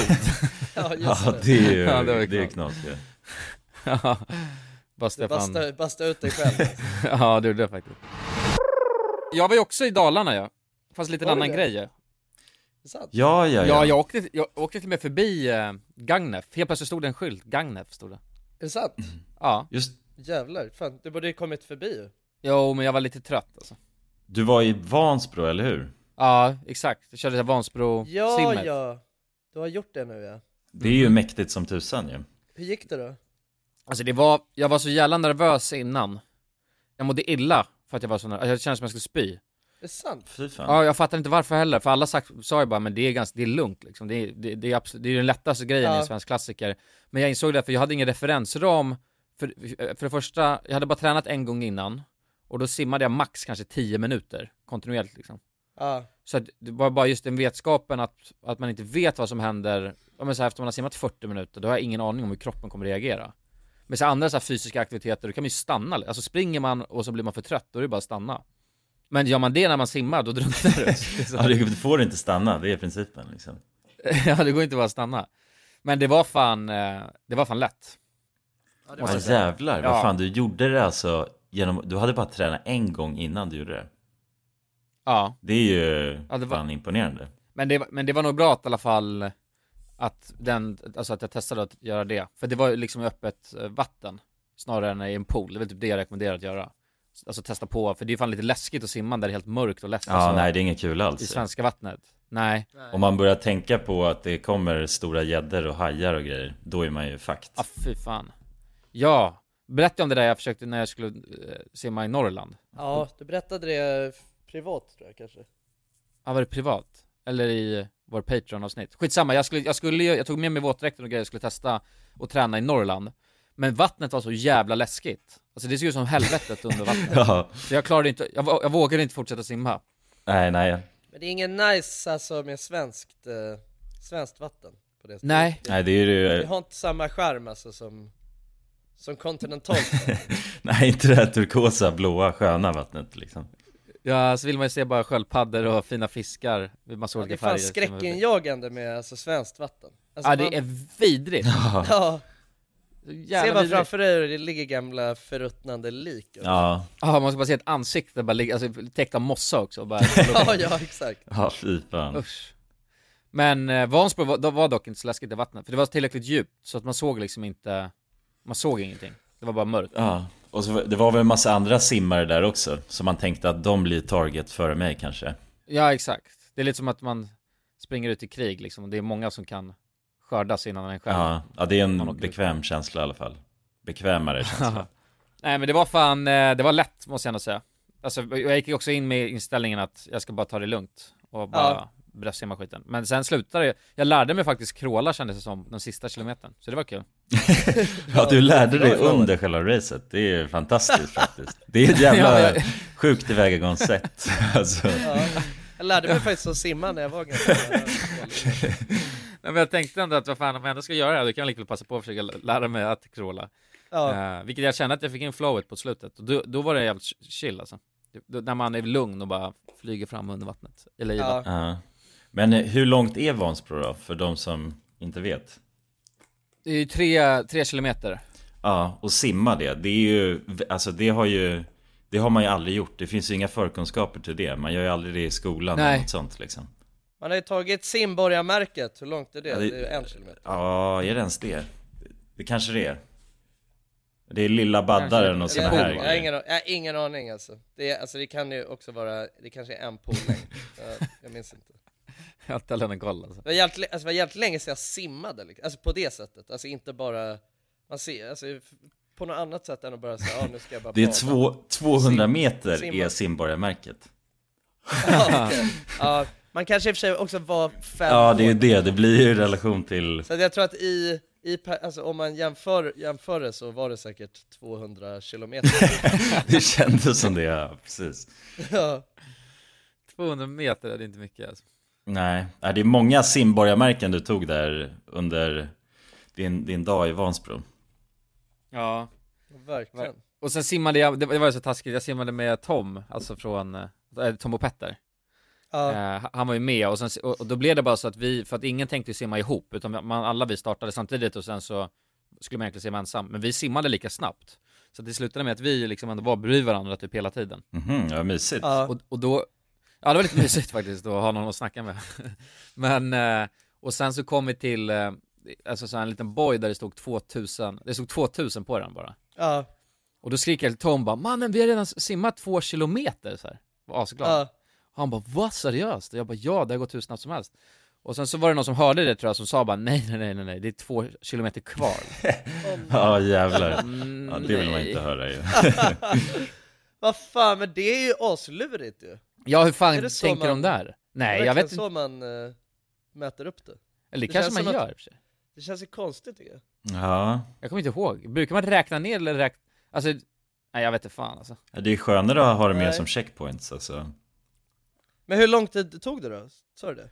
[SPEAKER 3] ja, just
[SPEAKER 2] Ja,
[SPEAKER 3] det.
[SPEAKER 2] det är ju
[SPEAKER 1] Ja, det var
[SPEAKER 2] det är ju
[SPEAKER 1] knall.
[SPEAKER 2] knas ju.
[SPEAKER 1] Ja, Bastade
[SPEAKER 3] Du
[SPEAKER 1] fan.
[SPEAKER 3] bastar, bastar ut dig själv.
[SPEAKER 1] (laughs) Ja, det gjorde jag faktiskt. Jag var ju också i Dalarna ja. Fast lite en
[SPEAKER 3] Var du
[SPEAKER 1] annan
[SPEAKER 3] det?
[SPEAKER 1] grej ja.
[SPEAKER 3] sant?
[SPEAKER 2] Ja, ja, ja.
[SPEAKER 1] jag, åkte, jag åkte till och med förbi eh, Gagnef. Helt plötsligt stod det en skylt. Gagnef stod det.
[SPEAKER 3] Är det sant?
[SPEAKER 1] Ja.
[SPEAKER 2] Just,
[SPEAKER 3] Jävlar, fan du borde ju kommit förbi ju.
[SPEAKER 1] Jo, men jag var lite trött alltså.
[SPEAKER 2] du var i Vansbro, eller hur?
[SPEAKER 1] Ja, exakt. Jag körde Vansbro
[SPEAKER 3] Ja,
[SPEAKER 1] simmet.
[SPEAKER 3] ja. Du har gjort det nu ja.
[SPEAKER 2] Det är ju
[SPEAKER 1] Mm.
[SPEAKER 2] mäktigt som tusan ju.
[SPEAKER 3] Hur gick det då?
[SPEAKER 1] Alltså det var, jag var så jävla nervös innan. Jag mådde illa för att jag var så nervös. Jag kände som jag skulle spy.
[SPEAKER 3] Är det sant?
[SPEAKER 2] Fy fan.
[SPEAKER 1] Ja, jag fattar inte varför heller, för alla sagt, sa ju bara men det är ganska, det är lugnt liksom. Det är, det, det är, absolut, det är ju den lättaste grejen i
[SPEAKER 3] Ja.
[SPEAKER 1] en svensk klassiker. Men jag insåg det, för jag hade ingen referensram. För, för det första, jag hade bara tränat en gång innan. Och då simmade jag max kanske 10 minuter kontinuerligt liksom.
[SPEAKER 3] Ja,
[SPEAKER 1] Så att det var bara just den vetskapen att, att man inte vet vad som händer, ja, men så här, efter man har simmat 40 minuter, då har jag ingen aning om hur kroppen kommer reagera. Men så här, andra så här, fysiska aktiviteter, då kan man ju stanna, alltså springer man och så blir man för trött, då är det bara att stanna. Men gör man det när man simmar, då drunknar du. Det (laughs) är så
[SPEAKER 2] Ja,
[SPEAKER 1] här-
[SPEAKER 2] du får inte stanna, det är principen liksom.
[SPEAKER 1] ja, det går inte bara att stanna. Men det var fan, eh, det var fan lätt.
[SPEAKER 2] Ja, jävlar,
[SPEAKER 1] Ja.
[SPEAKER 2] vad fan, du gjorde det alltså genom, du hade bara tränat en gång innan du gjorde det.
[SPEAKER 1] Ja,
[SPEAKER 2] Det är ju
[SPEAKER 1] Ja, det var-
[SPEAKER 2] fan imponerande.
[SPEAKER 1] men det, var- men det var nog bra att, i alla fall att, den, alltså att jag testade att göra det. För det var ju liksom i öppet eh, vatten snarare än i en pool. Det är väl typ det jag rekommenderar att göra. Alltså testa på, för det är ju fan lite läskigt att simma där det är helt mörkt och lätt.
[SPEAKER 2] Ja,
[SPEAKER 1] alltså,
[SPEAKER 2] nej, det är inget kul
[SPEAKER 1] I
[SPEAKER 2] alls.
[SPEAKER 1] svenska vattnet. Nej,
[SPEAKER 2] Om man börjar tänka på att det kommer stora gäddor och hajar och grejer, då är man ju fakt.
[SPEAKER 1] ah, fy fan. Ja, berätta om det där jag försökte när jag skulle eh, simma i Norrland.
[SPEAKER 3] ja du berättade det privat tror jag kanske.
[SPEAKER 1] Ja, var det privat? Eller i vår Patreon-avsnitt? Skitsamma, jag, skulle, jag, skulle, ju- jag tog med mig våtdräkten och grejer, jag skulle testa och träna i Norrland Men vattnet var så jävla läskigt Alltså det såg ut som helvetet under vattnet
[SPEAKER 2] (laughs) Ja,
[SPEAKER 1] Så jag klarade inte, jag, vå- jag vågade inte fortsätta simma
[SPEAKER 2] nej, nej.
[SPEAKER 3] Men det är ingen nice alltså med svenskt, eh, svenskt vatten på det sättet.
[SPEAKER 1] Nej.
[SPEAKER 3] det,
[SPEAKER 2] Nej, det är
[SPEAKER 3] det
[SPEAKER 2] ju...
[SPEAKER 3] har inte samma charm alltså som, som (laughs) kontinentalt
[SPEAKER 2] Nej, inte det här turkosa, blåa, sköna vattnet liksom.
[SPEAKER 1] Ja, så vill man ju se bara sköldpaddor och fina fiskar med massa
[SPEAKER 3] Det är
[SPEAKER 1] olika
[SPEAKER 3] fan
[SPEAKER 1] färger
[SPEAKER 3] skräckinjagande med alltså svenskt vatten alltså,
[SPEAKER 1] Ja det
[SPEAKER 3] man-
[SPEAKER 1] är
[SPEAKER 3] (laughs)
[SPEAKER 1] vidrigt!
[SPEAKER 3] ja, se
[SPEAKER 1] Jävla
[SPEAKER 3] bara
[SPEAKER 1] vidrigt!
[SPEAKER 3] framför dig hur det ligger gamla förruttnande lik och-
[SPEAKER 2] Ja,
[SPEAKER 1] Ja, man ska bara se ett ansikte bara ligga, alltså täckt av mossa också
[SPEAKER 3] (laughs)
[SPEAKER 1] bara
[SPEAKER 3] (laughs) ja, ja exakt
[SPEAKER 2] ja fy fan.
[SPEAKER 1] Usch. Men eh, Vansbro var, då var dock inte så läskigt i vattnet, för det var tillräckligt djupt så att man såg liksom inte, man såg ingenting. Det var bara mörkt.
[SPEAKER 2] Ja, och så, var- det var väl en massa andra simmare där också, så man tänkte att de blir target före mig kanske.
[SPEAKER 1] Ja, exakt. Det är lite som att man springer ut i krig liksom, och det är många som kan skördas innan en själv.
[SPEAKER 2] Ja, ja det är
[SPEAKER 1] Man
[SPEAKER 2] en
[SPEAKER 1] åker ut.
[SPEAKER 2] bekväm känsla i alla fall.
[SPEAKER 1] (laughs)
[SPEAKER 2] Bekvämare känsla.
[SPEAKER 1] Nej men det var fan, eh, det var lätt måste jag ändå säga. Alltså jag gick ju också in med inställningen att jag ska bara ta det lugnt och bara
[SPEAKER 3] Ja.
[SPEAKER 1] bröstsimma skiten. Men sen slutade jag, jag lärde mig faktiskt kråla kändes det som, den sista kilometern. Så det var kul.
[SPEAKER 2] Ja, du lärde dig under själva racet. Det är ju fantastiskt faktiskt. Det är ett
[SPEAKER 1] (laughs)
[SPEAKER 2] jävla
[SPEAKER 1] Ja, men-
[SPEAKER 2] sjukt tillvägagångssätt. (laughs) Alltså,
[SPEAKER 3] ja. Jag lärde mig faktiskt att simma när jag var ganska dålig.
[SPEAKER 1] Nej, men jag tänkte ändå att vad fan, om jag ändå ska göra det här, då kan jag lika väl passa på att försöka lära mig att crawla.
[SPEAKER 3] ja.
[SPEAKER 1] Eh, vilket jag kände att jag fick in flowet på slutet, och då, då var det jävligt chill alltså. Det- Då, när man är lugn och bara flyger fram under vattnet, eller i vattnet.
[SPEAKER 3] ja,
[SPEAKER 2] ja. Men eh, hur långt är Vansbro då, för de som inte vet?
[SPEAKER 1] Det är ju tre, tre kilometer. (laughs)
[SPEAKER 2] Ja, och simma det. Det är ju, alltså det har ju, det har man ju aldrig gjort. Det finns ju inga förkunskaper till det. Man gör ju aldrig det i skolan
[SPEAKER 1] Nej.
[SPEAKER 2] eller något sånt liksom.
[SPEAKER 3] Man har ju tagit simborgarmärket, hur långt är det?
[SPEAKER 2] Ja,
[SPEAKER 3] det...
[SPEAKER 2] det-
[SPEAKER 3] är ju en kilometer
[SPEAKER 2] Ja, är det ens det? Det kanske det är. Det är lilla baddaren och
[SPEAKER 1] Kanske.
[SPEAKER 2] såna
[SPEAKER 3] Eller
[SPEAKER 2] här
[SPEAKER 3] en pool. jag, har
[SPEAKER 2] grejer.
[SPEAKER 3] ingen, jag har ingen aning alltså. Det, är, alltså det kan ju också vara, det kanske är en pool längre. jag, jag minns inte
[SPEAKER 1] Jag har inte heller någon koll alltså.
[SPEAKER 3] Det var jävligt, alltså, det var jävligt länge sedan jag simmade, liksom. alltså på det sättet, alltså inte bara, man ser, alltså f- på något annat sätt än att bara säga ja nu ska jag bara
[SPEAKER 2] Det är
[SPEAKER 3] bada."
[SPEAKER 2] två, 200 meter
[SPEAKER 3] Simma.
[SPEAKER 2] är simborgarmärket.
[SPEAKER 3] (laughs) ja, okej. ja, Man kanske i och för sig också var fem
[SPEAKER 2] Ja, det är ju
[SPEAKER 3] år.
[SPEAKER 2] det. Det blir ju i relation till... (laughs)
[SPEAKER 3] Så att jag tror att i, i per- alltså om man jämför, jämför det så var det säkert 200 kilometer
[SPEAKER 2] Det kändes som det, ja, precis.
[SPEAKER 3] ja.
[SPEAKER 1] 200 meter är det inte mycket alltså.
[SPEAKER 2] Nej, ja, det är många simborgarmärken du tog där under din, din dag i Vansbro.
[SPEAKER 1] Ja.
[SPEAKER 3] Verkligen
[SPEAKER 1] Och sen simmade jag, det var det var ju så taskigt, jag simmade med Tom, alltså från, eh, Tom och Petter.
[SPEAKER 3] ja.
[SPEAKER 1] Eh, han var ju med och, sen, och, och då blev det bara så att vi, för att ingen tänkte ju simma ihop, utan man, alla vi startade samtidigt och sen så skulle man egentligen simma ensam, men vi simmade lika snabbt. Så det slutade med att vi liksom ändå var bredvid varandra typ hela tiden.
[SPEAKER 2] Mhm, ja, mysigt.
[SPEAKER 3] Ja.
[SPEAKER 1] Och, och då, Ja det var lite mysigt (laughs) faktiskt att ha någon att snacka med. (laughs) Men, eh, och sen så kom vi till, eh, alltså så här en liten boj där det stod 2000, det stod 2000 på den bara.
[SPEAKER 3] Ja,
[SPEAKER 1] Och då skriker jag till Tom bara, mannen vi har redan simmat två kilometer så här. Var asglad.
[SPEAKER 3] ja,
[SPEAKER 1] Han bara, vad seriöst? Och jag bara, ja det har gått hur snabbt som helst. Och sen så var det någon som hörde det tror jag som sa bara, nej nej nej nej, nej det är två kilometer
[SPEAKER 3] (laughs)
[SPEAKER 1] kvar.
[SPEAKER 2] Ja jävlar.
[SPEAKER 1] Mm,
[SPEAKER 2] Ja, det vill man
[SPEAKER 1] nej.
[SPEAKER 2] inte höra ju.
[SPEAKER 3] Vad fan, men det är ju aslurigt ju.
[SPEAKER 1] Ja hur fan
[SPEAKER 3] Är det så
[SPEAKER 1] tänker de
[SPEAKER 3] man-
[SPEAKER 1] där?
[SPEAKER 3] det
[SPEAKER 1] Nej
[SPEAKER 3] är
[SPEAKER 1] jag
[SPEAKER 3] verkligen
[SPEAKER 1] vet inte,
[SPEAKER 3] så man eh, mäter upp det.
[SPEAKER 1] eller det
[SPEAKER 3] det
[SPEAKER 1] kanske
[SPEAKER 3] känns
[SPEAKER 1] man
[SPEAKER 3] som att-
[SPEAKER 1] gör i och för sig.
[SPEAKER 3] Det känns ju konstigt tycker jag.
[SPEAKER 2] Ja.
[SPEAKER 1] Jag kommer inte ihåg. Brukar man räkna ner eller räkna... Alltså, nej jag vet inte fan alltså.
[SPEAKER 2] Det är skönare att ha det mer
[SPEAKER 3] Nej.
[SPEAKER 2] som checkpoints alltså.
[SPEAKER 3] Men hur lång tid tog det då? Sa du det?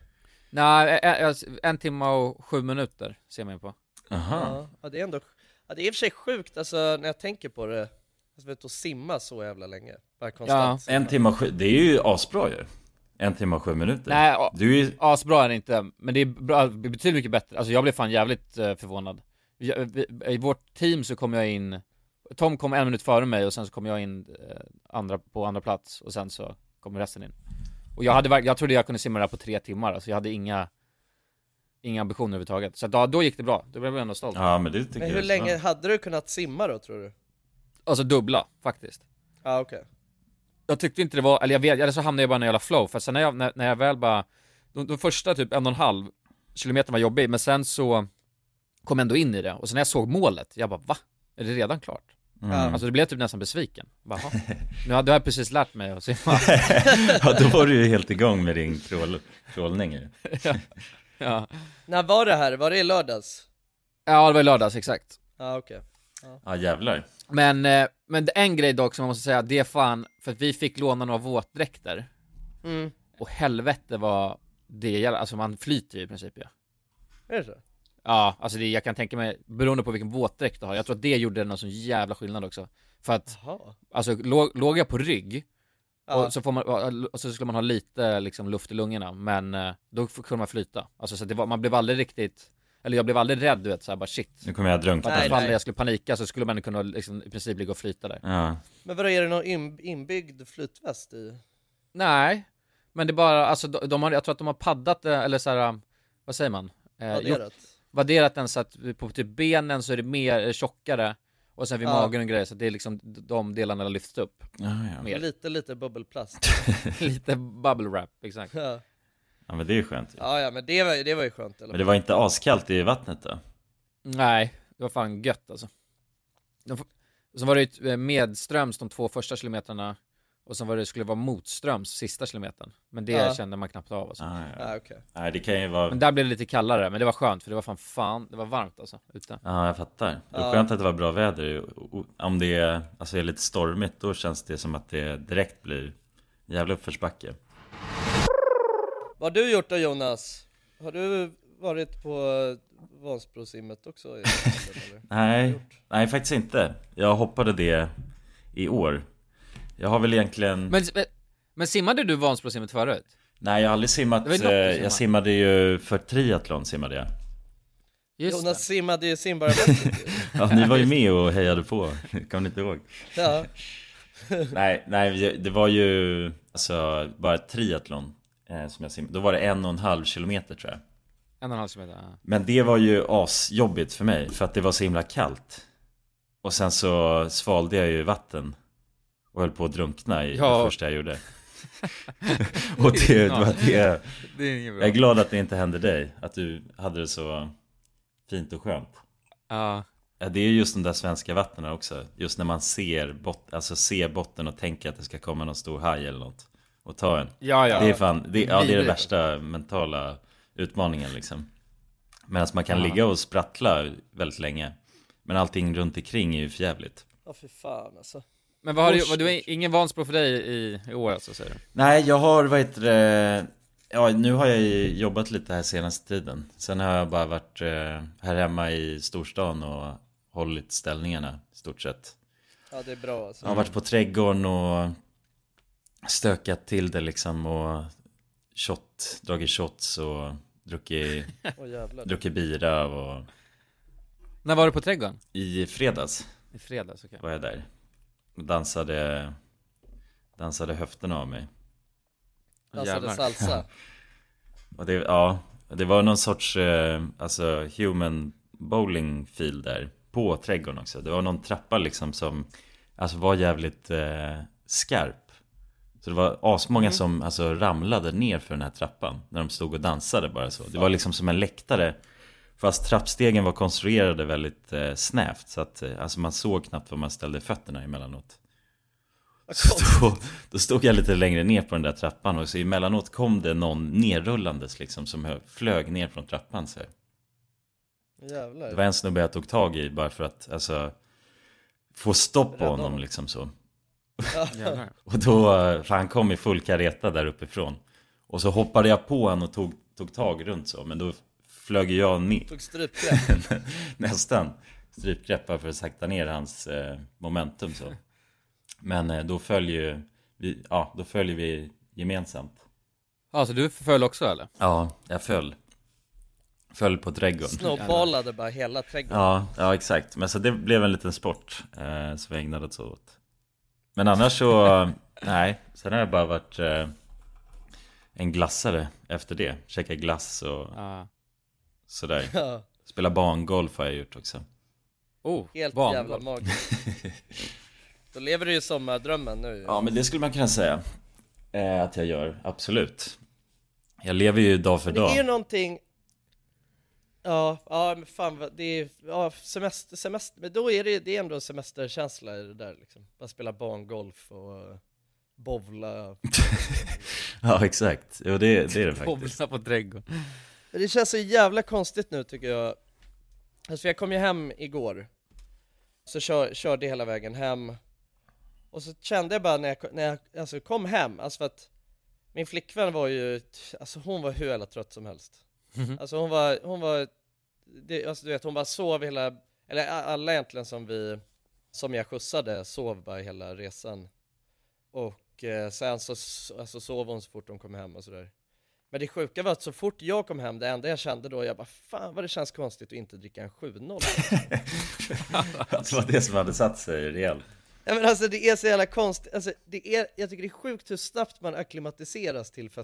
[SPEAKER 1] Nej, en, en- en timme och sju minuter ser man ju på.
[SPEAKER 2] Aha.
[SPEAKER 3] Ja, ja, det är ändå, ja, det är i och för sig sjukt alltså när jag tänker på det. Alltså vet och simma så jävla länge, bara konstant.
[SPEAKER 2] En timme och sju, det är ju asbra ju. En timme och sju minuter.
[SPEAKER 1] Nej, a-
[SPEAKER 2] Du är ju...
[SPEAKER 1] asbra är det inte, men det är bra, det är betydligt mycket bättre. Alltså jag blev fan jävligt eh, förvånad. Jag, vi, I vårt team så kom jag in, Tom kom en minut före mig och sen så kom jag in eh, andra, på andra plats och sen så kom resten in. Och jag, hade, verk- jag trodde jag kunde simma det här på tre timmar, alltså jag hade inga, inga ambitioner överhuvudtaget. Så då, då gick det bra, då blev jag ändå stolt.
[SPEAKER 2] Ja men det tycker
[SPEAKER 3] Men
[SPEAKER 2] jag
[SPEAKER 3] hur
[SPEAKER 2] är så
[SPEAKER 3] länge
[SPEAKER 2] bra.
[SPEAKER 3] hade du kunnat simma då tror du?
[SPEAKER 1] Alltså dubbla, faktiskt.
[SPEAKER 3] Ja okej.
[SPEAKER 1] jag tyckte inte det var, eller jag vet, eller så hamnade jag bara i en jävla flow, för sen när jag, när, när jag väl bara, de, de första typ en och en halv kilometern var jobbig, men sen så kom jag ändå in i det, och sen när jag såg målet, jag bara va? Är det redan klart?
[SPEAKER 2] Mm.
[SPEAKER 1] Alltså det blev jag typ nästan besviken, bara, "Jaha." nu hade jag precis lärt mig att simma
[SPEAKER 2] Ja då var du ju helt igång med din krål... krålning ju.
[SPEAKER 1] ja.
[SPEAKER 3] När var det här? Var det i lördags?
[SPEAKER 1] ja, det var i lördags exakt
[SPEAKER 3] Ja okej.
[SPEAKER 2] Ja jävlar.
[SPEAKER 1] Men, eh, men det- en grej dock som man måste säga, det är fan, för att vi fick låna några våtdräkter
[SPEAKER 3] Mm.
[SPEAKER 1] Och helvete vad det gäller, alltså man flyter ju i princip ju
[SPEAKER 3] Är det så?
[SPEAKER 1] Ja, alltså det, jag kan tänka mig, beroende på vilken våtdräkt du har, jag tror att det gjorde någon sån jävla skillnad också. För att,
[SPEAKER 3] Jaha.
[SPEAKER 1] alltså låg, låg jag på rygg,
[SPEAKER 3] Ja.
[SPEAKER 1] och, så får man, och så skulle man ha lite liksom, luft i lungorna, men eh, då f- kunde man flyta. Alltså så att det var, man blev aldrig riktigt, eller jag blev aldrig rädd du vet, såhär bara shit.
[SPEAKER 2] Nu kommer jag att drunkna.
[SPEAKER 1] För att
[SPEAKER 3] Nej,
[SPEAKER 1] ifall
[SPEAKER 3] nej.
[SPEAKER 1] jag skulle panika så skulle man kunna liksom, i princip ligga och flyta där.
[SPEAKER 2] Ja.
[SPEAKER 3] Men vadå, är det någon in, inbyggd flytväst i?
[SPEAKER 1] Nej, men det är bara, alltså de, de har, jag tror att de har paddat, eh, eller såhär, vad säger man? Eh, gjort-
[SPEAKER 3] Adderat?
[SPEAKER 1] värderat den så att på typ benen så är det mer eh, tjockare och sen vid
[SPEAKER 3] Ja.
[SPEAKER 1] magen och grejer så att det är liksom de delarna lyfts upp (laughs)
[SPEAKER 2] Ja, ja.
[SPEAKER 1] mer.
[SPEAKER 3] Lite, lite bubbelplast. (laughs)
[SPEAKER 1] Lite bubble wrap, exakt.
[SPEAKER 3] ja.
[SPEAKER 2] ja men det är ju skönt. ju.
[SPEAKER 3] ja, ja, men det var, ju- det var ju skönt i alla
[SPEAKER 2] Men
[SPEAKER 3] fall.
[SPEAKER 2] det var inte askallt i vattnet då?
[SPEAKER 1] Nej, det var fan gött alltså. De, f- sen var det ju ett, eh, medströms de två första kilometrarna och sen var det, skulle det vara motströms sista kilometern. Men det
[SPEAKER 3] Ja.
[SPEAKER 1] kände man knappt av alltså.
[SPEAKER 2] Ja, ja.
[SPEAKER 3] Ja, okej.
[SPEAKER 2] Nej det kan ju vara...
[SPEAKER 1] Men där blev det lite kallare, men det var skönt för det var fan fan, det var varmt alltså ute.
[SPEAKER 2] Ja jag fattar. Det
[SPEAKER 3] Ja.
[SPEAKER 2] är skönt att det var bra väder. O- Om det är, alltså, är lite stormigt då känns det som att det direkt blir jävla uppförsbacke.
[SPEAKER 3] Vad har du gjort då Jonas? Har du varit på Vansbrosimmet också? i helgen, eller?
[SPEAKER 2] Nej, nej faktiskt inte. Jag hoppade det i år. Jag har väl egentligen...
[SPEAKER 1] Men, men, men simmade du Vansbrosimmet förut?
[SPEAKER 2] Nej jag har aldrig simmat.
[SPEAKER 1] Det var ju
[SPEAKER 2] eh,
[SPEAKER 1] något du simmade.
[SPEAKER 2] Jag simmade ju för triathlon simmade jag.
[SPEAKER 1] Just
[SPEAKER 3] Jonas
[SPEAKER 1] det.
[SPEAKER 3] simmade ju simbarabäsket ju.
[SPEAKER 2] Ja, Alltså,
[SPEAKER 1] (laughs)
[SPEAKER 2] ni var ju med och hejade på. (laughs) Kommer ni inte ihåg?
[SPEAKER 3] Ja,
[SPEAKER 2] Nej, nej, det var ju alltså bara triathlon eh, som jag simmade. Då var det en och en halv kilometer tror jag.
[SPEAKER 1] En och en halv kilometer, ja.
[SPEAKER 2] Men det var ju asjobbigt för mig för att det var så himla kallt. Och sen så svalde jag ju vatten och höll på att drunkna i
[SPEAKER 1] Ja.
[SPEAKER 2] det första jag
[SPEAKER 1] (laughs)
[SPEAKER 2] gjorde. och det var det.
[SPEAKER 1] Det är inget bra.
[SPEAKER 2] Jag är glad att det inte hände dig, att du hade det så fint och skönt.
[SPEAKER 1] Ja.
[SPEAKER 2] Ja, det är just de där svenska vattnen också. Just när man ser, bot- alltså ser botten och tänker att det ska komma någon stor haj eller något och ta en.
[SPEAKER 1] Ja, ja.
[SPEAKER 2] Det är fan, det, ja, det är den
[SPEAKER 1] Vidrigt.
[SPEAKER 2] värsta mentala utmaningen liksom. Medan man kan ligga och sprattla väldigt länge. Men allting runt omkring är ju förjävligt.
[SPEAKER 3] oh, fy fan alltså.
[SPEAKER 1] Men vad har du,
[SPEAKER 3] Usch,
[SPEAKER 1] vad du är ingen Vansbro för dig i, i år alltså säger du?
[SPEAKER 2] Nej, jag har, vad heter det, ja nu har jag ju jobbat lite här senaste tiden. Sen har jag bara varit eh, här hemma i storstan och hållit ställningarna i stort sett.
[SPEAKER 3] Ja det är bra alltså.
[SPEAKER 2] Jag har varit på trädgården och stökat till det liksom och shot, dragit shots och druckit,
[SPEAKER 3] Åh jävlar.
[SPEAKER 2] druckit bira och
[SPEAKER 1] När var du på trädgården?
[SPEAKER 2] i fredags
[SPEAKER 1] I fredags, okej.
[SPEAKER 2] var jag där och dansade, dansade höfterna av mig.
[SPEAKER 3] dansade
[SPEAKER 2] Jävlar.
[SPEAKER 3] Alltså, salsa.
[SPEAKER 2] Och det, ja, det var någon sorts eh, alltså, human bowling field där på trädgården också. Det var någon trappa liksom som alltså, var jävligt eh, skarp. Så det var asmånga
[SPEAKER 8] Mm.
[SPEAKER 2] som alltså, ramlade ner för den här trappan när de stod och dansade bara så. Det var liksom som en läktare. Fast trappstegen var konstruerade väldigt eh, snävt så att eh, alltså, man såg knappt var man ställde fötterna emellanåt. Så (laughs) då, då stod jag lite längre ner på den där trappan och så emellanåt kom det någon nerrullandes liksom som hö- flög ner från trappan så här.
[SPEAKER 3] Jävlar.
[SPEAKER 2] Det var en snubbe jag tog tag i bara för att alltså få stopp på
[SPEAKER 3] Rädda
[SPEAKER 2] honom
[SPEAKER 3] honom.
[SPEAKER 2] liksom så.
[SPEAKER 3] Jävlar.
[SPEAKER 2] och då, eh, för han kom i full kareta där uppifrån. Och så hoppade jag på honom och tog, tog tag runt så, men då flög jag ner. (laughs)
[SPEAKER 3] Tog strypgrepp.
[SPEAKER 2] Nästan. Strypgrepp bara för att sakta ner hans eh, momentum så. Men eh, då följer ju vi, ja, då följer vi gemensamt.
[SPEAKER 1] (laughs) Ja, så du föll också eller?
[SPEAKER 2] Ja, jag föll. Föll på trädgården.
[SPEAKER 3] Snowballade bara hela trädgården.
[SPEAKER 2] Ja, ja exakt. Men så det blev en liten sport eh, som jag ägnade oss åt. Men annars så,
[SPEAKER 3] (laughs)
[SPEAKER 2] nej. Sen har jag bara varit eh, en glassare efter det. Käka glass och sådär.
[SPEAKER 3] Ja.
[SPEAKER 2] Spela bangolf har jag gjort också.
[SPEAKER 1] Oh,
[SPEAKER 3] Helt
[SPEAKER 1] barn.
[SPEAKER 3] jävla magiskt. (laughs) Då lever du ju sommardrömmen nu.
[SPEAKER 2] Ja, men det skulle man kunna säga eh, att jag gör, absolut. Jag lever ju dag för
[SPEAKER 3] Men det är ju
[SPEAKER 2] dag.
[SPEAKER 3] någonting Ja, ja men fan vad- det är, ja semester, semester, men då är det, det är ändå semesterkänsla i det där liksom Bara spela barngolf och eh, bowla
[SPEAKER 2] Ja, exakt. Jo, det,
[SPEAKER 3] (laughs)
[SPEAKER 2] det är det faktiskt.
[SPEAKER 1] Bobsna på trädgården.
[SPEAKER 3] Men Det känns så jävla konstigt nu tycker jag Alltså jag kom ju hem igår Så kör, körde hela vägen hem Och så kände jag bara när jag, ko- när jag alltså kom hem, alltså för att Min flickvän var ju, t- alltså hon var hur jävla trött som helst
[SPEAKER 8] Mhm.
[SPEAKER 3] Alltså hon var, hon var det, Alltså du vet hon bara sov hela, eller a- alla egentligen som vi Som jag skjutsade sov bara hela resan Och eh, sen så s- alltså sov hon så fort hon kom hem och sådär men det sjuka var att så fort jag kom hem, det enda jag kände då, jag bara fan vad det känns konstigt att inte dricka en 7-0
[SPEAKER 2] Det var det som hade satt sig rejält.
[SPEAKER 3] Ja men alltså det är så jävla konstigt, alltså det är, jag tycker det är sjukt hur snabbt man akklimatiseras till för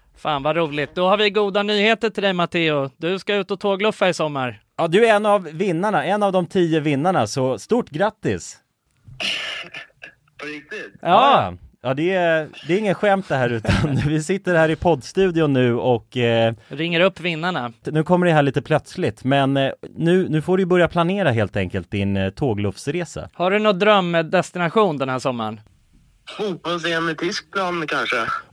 [SPEAKER 9] Fan vad roligt. Då har vi goda nyheter till dig Matteo. Du ska ut och tågluffa i sommar.
[SPEAKER 10] Ja, du är en av vinnarna, en av de tio vinnarna, så stort grattis!
[SPEAKER 9] Ja,
[SPEAKER 2] Ja det är, det är ingen skämt det här utan (laughs) vi sitter här i poddstudion nu och eh,
[SPEAKER 9] Ringer upp vinnarna.
[SPEAKER 2] nu kommer det här lite plötsligt men eh, nu, nu får du ju börja planera helt enkelt din eh, tågluffsresa.
[SPEAKER 9] Har du någon drömdestination den här sommaren?
[SPEAKER 11] Fotbolls-EM i Tyskland kanske?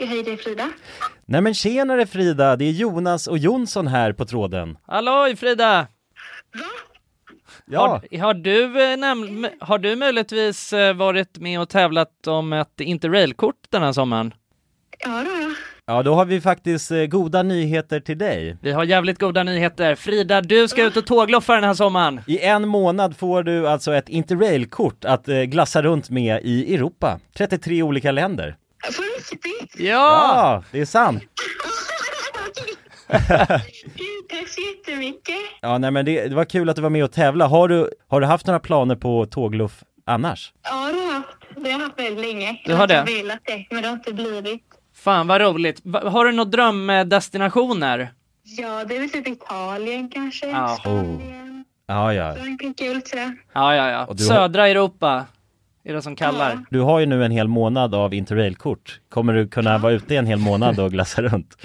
[SPEAKER 7] Hej, det är Frida.
[SPEAKER 2] Nej men tjenare Frida, det är Jonas och Jonsson här på tråden.
[SPEAKER 9] Halloj Frida!
[SPEAKER 2] Ja,
[SPEAKER 9] Har, har, du, eh, näm- m- har du möjligtvis eh, varit med och tävlat om ett interrailkort den här sommaren?
[SPEAKER 7] Ja, då, ja.
[SPEAKER 2] ja då har vi faktiskt eh, goda nyheter till dig.
[SPEAKER 9] Vi har jävligt goda nyheter. Frida, du ska ut och tågloffa den här sommaren.
[SPEAKER 2] I en månad får du alltså ett interrailkort att eh, glassa runt med i Europa. 33 olika länder.
[SPEAKER 7] På riktigt?
[SPEAKER 2] Ja, det är sant.
[SPEAKER 7] Gud, (laughs) Tack så jättemycket.
[SPEAKER 2] Ja, nej men det, det var kul att du var med och tävla. Har du, har du haft några planer på tågluff annars?
[SPEAKER 7] Ja, det har jag haft. Det har jag haft väldigt länge.
[SPEAKER 9] Du har
[SPEAKER 7] Jag
[SPEAKER 9] det?
[SPEAKER 7] inte velat det, men det har inte blivit.
[SPEAKER 9] Fan vad roligt. Va- Har du några drömdestinationer?
[SPEAKER 7] Ja, det är väl typ Italien kanske.
[SPEAKER 9] Ja.
[SPEAKER 2] Ja, ja.
[SPEAKER 7] Frankrike och lite sådär.
[SPEAKER 9] Ja, ja, ja.
[SPEAKER 2] Och du har-
[SPEAKER 9] Södra Europa är det som kallar.
[SPEAKER 2] Du har ju nu en hel månad av interrailkort. Kommer du kunna vara ute i en hel månad och glassa (laughs) runt?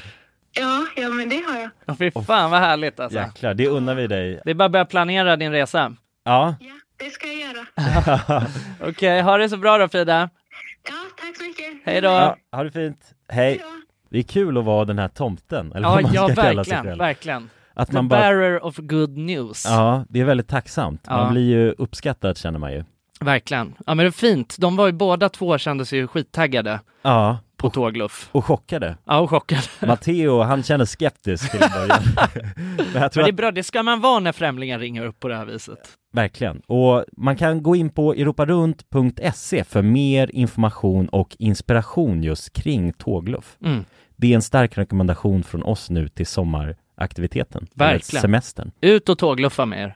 [SPEAKER 7] Ja, ja, men det har jag.
[SPEAKER 9] Ja. Fy fan vad härligt alltså.
[SPEAKER 2] Jäklar, det unnar vi dig.
[SPEAKER 9] Det är bara att börja planera din resa.
[SPEAKER 2] Ja.
[SPEAKER 7] Det ska jag göra.
[SPEAKER 9] Okej, ha det så bra då Frida.
[SPEAKER 7] Ja, tack så mycket.
[SPEAKER 9] Hej då.
[SPEAKER 2] ja, ha det fint. Hej. Det är kul att vara den här tomten, eller
[SPEAKER 9] Ja, (laughs)
[SPEAKER 2] vad man
[SPEAKER 9] ja
[SPEAKER 2] ska kalla sig
[SPEAKER 9] verkligen,
[SPEAKER 2] själv.
[SPEAKER 9] verkligen.
[SPEAKER 2] Att
[SPEAKER 9] The
[SPEAKER 2] man bara-
[SPEAKER 9] bearer of good news.
[SPEAKER 2] Ja, det är väldigt tacksamt. Man
[SPEAKER 9] Ja.
[SPEAKER 2] blir ju uppskattad känner man ju.
[SPEAKER 9] Verkligen. Ja men det är fint. De var ju båda två kände sig ju skittaggade.
[SPEAKER 2] Ja.
[SPEAKER 9] På tågluff.
[SPEAKER 2] Och chockade.
[SPEAKER 9] Ja, och chockade.
[SPEAKER 2] Matteo, han känner skeptisk till en början.
[SPEAKER 9] (laughs)
[SPEAKER 2] Men jag tror
[SPEAKER 9] Men det är
[SPEAKER 2] att,
[SPEAKER 9] bra, det ska man vara när främlingar ringer upp på det här viset.
[SPEAKER 2] verkligen. Och man kan gå in på europarunt.se E för mer information och inspiration just kring tågluff.
[SPEAKER 9] Mm.
[SPEAKER 2] Det är en stark rekommendation från oss nu till sommaraktiviteten. eller
[SPEAKER 9] Verkligen.
[SPEAKER 2] Semestern.
[SPEAKER 9] Ut och tågluffa med er.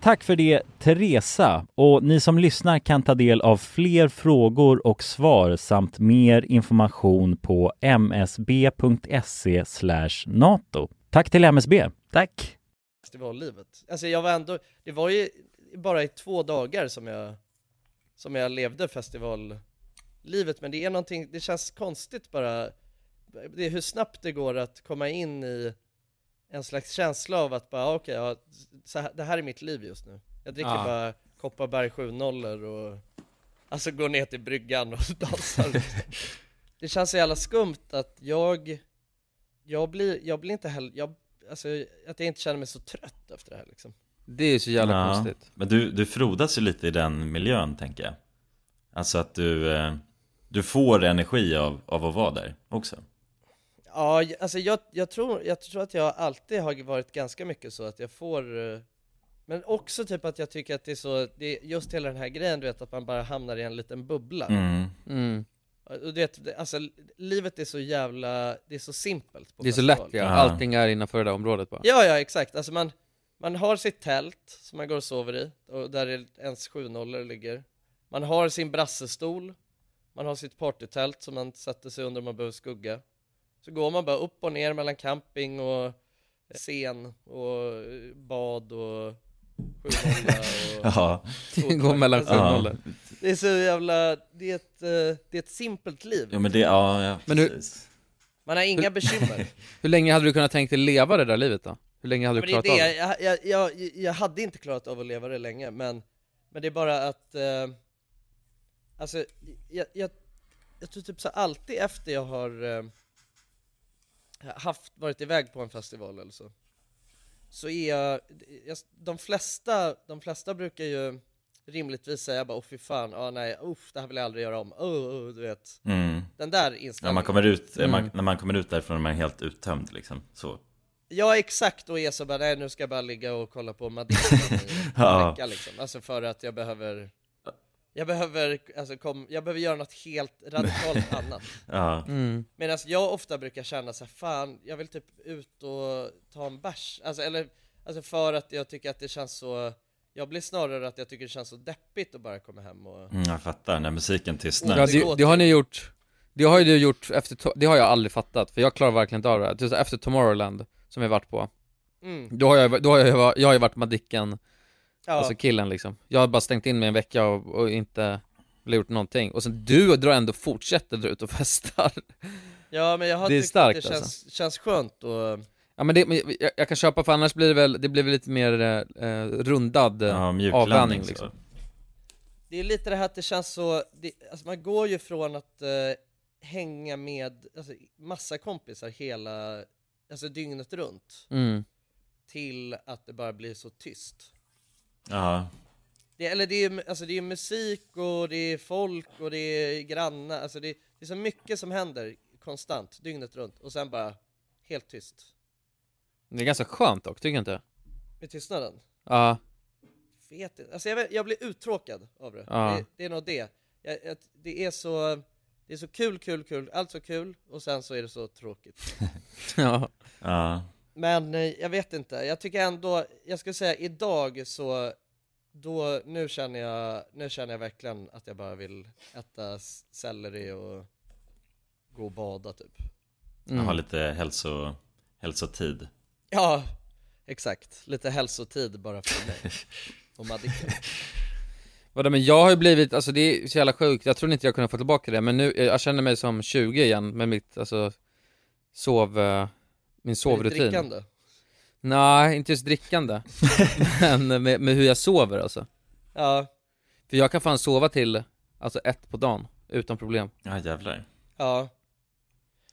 [SPEAKER 10] Tack för det Teresa och ni som lyssnar kan ta del av fler frågor och svar samt mer information på msb.se E nato. Tack till MSB.
[SPEAKER 9] Tack.
[SPEAKER 3] Det var livet. Alltså jag var ändå, det var ju bara i två dagar som jag, som jag levde festivallivet, men det är någonting, det känns konstigt bara, det är hur snabbt det går att komma in i en slags känsla av att bara, okej, ja, så här, det här är mitt liv just nu. Jag dricker
[SPEAKER 12] Ja.
[SPEAKER 3] bara Kopparberg 7-0 och, alltså går ner till bryggan och (laughs) dansar. det känns så jävla skumt att jag, jag blir, jag blir inte heller, jag, alltså att jag inte känner mig så trött efter det här liksom.
[SPEAKER 2] Det är så
[SPEAKER 3] jävla konstigt.
[SPEAKER 2] Men du, du frodas ju lite i den miljön tänker jag Alltså att du, eh, du får energi av, av att vara där också
[SPEAKER 3] Ja, j- alltså jag, jag, tror, jag tror att jag alltid har varit ganska mycket så att jag får eh, Men också typ att jag tycker att det är så, det är just hela den här grejen du vet att man bara hamnar i en liten bubbla
[SPEAKER 2] Mm.
[SPEAKER 1] Mm.
[SPEAKER 3] Och du vet, det- alltså livet är så jävla, det är så simpelt på
[SPEAKER 1] Det är så lätt
[SPEAKER 3] festival.
[SPEAKER 1] ja, allting är innanför det där området bara.
[SPEAKER 3] Ja, ja, exakt. Alltså man, man har sitt tält som man går och sover i, och där är ens 7-0 ligger. Man har sin brassestol, man har sitt partytält som man sätter sig under om man behöver skugga. Så går man bara upp och ner mellan camping och eh, scen och eh, bad och 7-0
[SPEAKER 2] (laughs)
[SPEAKER 3] och...
[SPEAKER 2] Ja.
[SPEAKER 1] (laughs)
[SPEAKER 3] och-
[SPEAKER 2] Går mellan
[SPEAKER 3] alltså,
[SPEAKER 2] 7-0.
[SPEAKER 3] Det är så jävla, det är ett, eh, det är ett simpelt liv.
[SPEAKER 2] Ja men det, ja, ja
[SPEAKER 1] Men hur-
[SPEAKER 2] precis
[SPEAKER 3] Man har inga bekymmer.
[SPEAKER 1] Hur länge hade du kunnat tänkt dig leva det där livet då? Hur länge hade du
[SPEAKER 3] men
[SPEAKER 1] klarat
[SPEAKER 3] det är
[SPEAKER 1] av
[SPEAKER 3] det,
[SPEAKER 1] det?
[SPEAKER 3] jag, jag, jag, jag hade inte klarat av att leva det länge men, men det är bara att eh, Alltså, jag, jag, jag tror typ så alltid efter jag har eh, haft, varit iväg på en festival eller så Så är jag, jag de, flesta, de flesta brukar ju rimligtvis säga bara åh fy fan, ah, nej, uff, det här vill jag aldrig göra om, oh, oh, du vet
[SPEAKER 2] Mm.
[SPEAKER 3] Den där
[SPEAKER 2] när
[SPEAKER 3] inställningen
[SPEAKER 2] man kommer ut, eh, man,
[SPEAKER 3] Mm.
[SPEAKER 2] När man kommer ut därifrån är man helt uttömd liksom så
[SPEAKER 3] Ja exakt, och är så bara nej nu ska jag bara ligga och kolla
[SPEAKER 1] (laughs)
[SPEAKER 3] på Madeira i en
[SPEAKER 2] Ja.
[SPEAKER 3] vecka liksom. Alltså för att jag behöver Jag behöver, alltså kom, jag behöver göra något helt radikalt annat
[SPEAKER 2] Ja.
[SPEAKER 1] Mm.
[SPEAKER 3] Medan jag ofta brukar känna så här, fan jag vill typ ut och ta en bärs Alltså eller, alltså för att jag tycker att det känns så Jag blir snarare att jag tycker det känns så deppigt att bara komma hem och
[SPEAKER 2] mm, Jag fattar, när musiken tystnar
[SPEAKER 1] Ja, det, det har ni gjort, det har ju du gjort efter, to- det har jag aldrig fattat, för jag klarar verkligen inte av det här. Till exempel Efter Tomorrowland, som vi varit på,
[SPEAKER 3] Mm.
[SPEAKER 1] då har jag, då har jag, va- jag har ju varit Madicken,
[SPEAKER 3] Ja.
[SPEAKER 1] alltså killen liksom. Jag har bara stängt in mig en vecka och, och inte gjort någonting. Och sen du drar ändå, fortsätter dra ut och (laughs) festar.
[SPEAKER 3] Ja men jag har
[SPEAKER 1] Det är
[SPEAKER 3] tyckt
[SPEAKER 1] starkt, alltså.
[SPEAKER 3] att det känns, känns skönt och
[SPEAKER 1] Ja men, det, men jag, jag kan köpa för annars blir det väl, det blir väl lite mer eh, eh, rundad eh,
[SPEAKER 2] Ja, mjuklandning
[SPEAKER 1] avvänjning
[SPEAKER 2] så.
[SPEAKER 1] liksom.
[SPEAKER 3] Det är lite det här att det känns så, det, alltså man går ju från att eh, hänga med alltså, massa kompisar hela, alltså dygnet runt,
[SPEAKER 1] Mm.
[SPEAKER 3] till att det bara blir så tyst.
[SPEAKER 2] Ja,
[SPEAKER 3] Det, eller det är, alltså, det är musik och det är folk och det är grannar, alltså det, det är så mycket som händer konstant, dygnet runt, och sen bara helt tyst.
[SPEAKER 1] Det är ganska skönt dock, tycker jag inte?
[SPEAKER 3] Med tystnaden.
[SPEAKER 1] Ja, (laughs)
[SPEAKER 3] Vet inte. Alltså jag, vet- jag blir uttråkad av det.
[SPEAKER 1] Ja.
[SPEAKER 3] det. Det är nog det. Jag, jag, det är så, det är så kul, kul, kul, allt så kul och sen så är det så tråkigt.
[SPEAKER 1] ja.
[SPEAKER 2] ja
[SPEAKER 3] Men eh, jag vet inte, jag tycker ändå, jag skulle säga idag så, då, nu känner jag, nu känner jag verkligen att jag bara vill äta s- selleri och gå och bada typ.
[SPEAKER 2] Jag
[SPEAKER 1] Mm.
[SPEAKER 2] har lite hälso, hälsotid
[SPEAKER 3] Ja, exakt. Lite hälsotid bara
[SPEAKER 1] (laughs)
[SPEAKER 3] för mig. och Madicken.
[SPEAKER 1] Vadå men jag har ju blivit, alltså det är så jävla sjukt, jag trodde inte jag kunde få tillbaka det men nu, eh, jag känner mig som 20 igen med mitt, alltså sov, eh, min sovrutin
[SPEAKER 3] drickande?
[SPEAKER 1] Nej, inte just drickande, men med, med hur jag sover alltså
[SPEAKER 3] Ja.
[SPEAKER 1] För jag kan fan sova till, alltså ett på dagen, utan problem
[SPEAKER 2] Ja jävlar
[SPEAKER 3] Ja.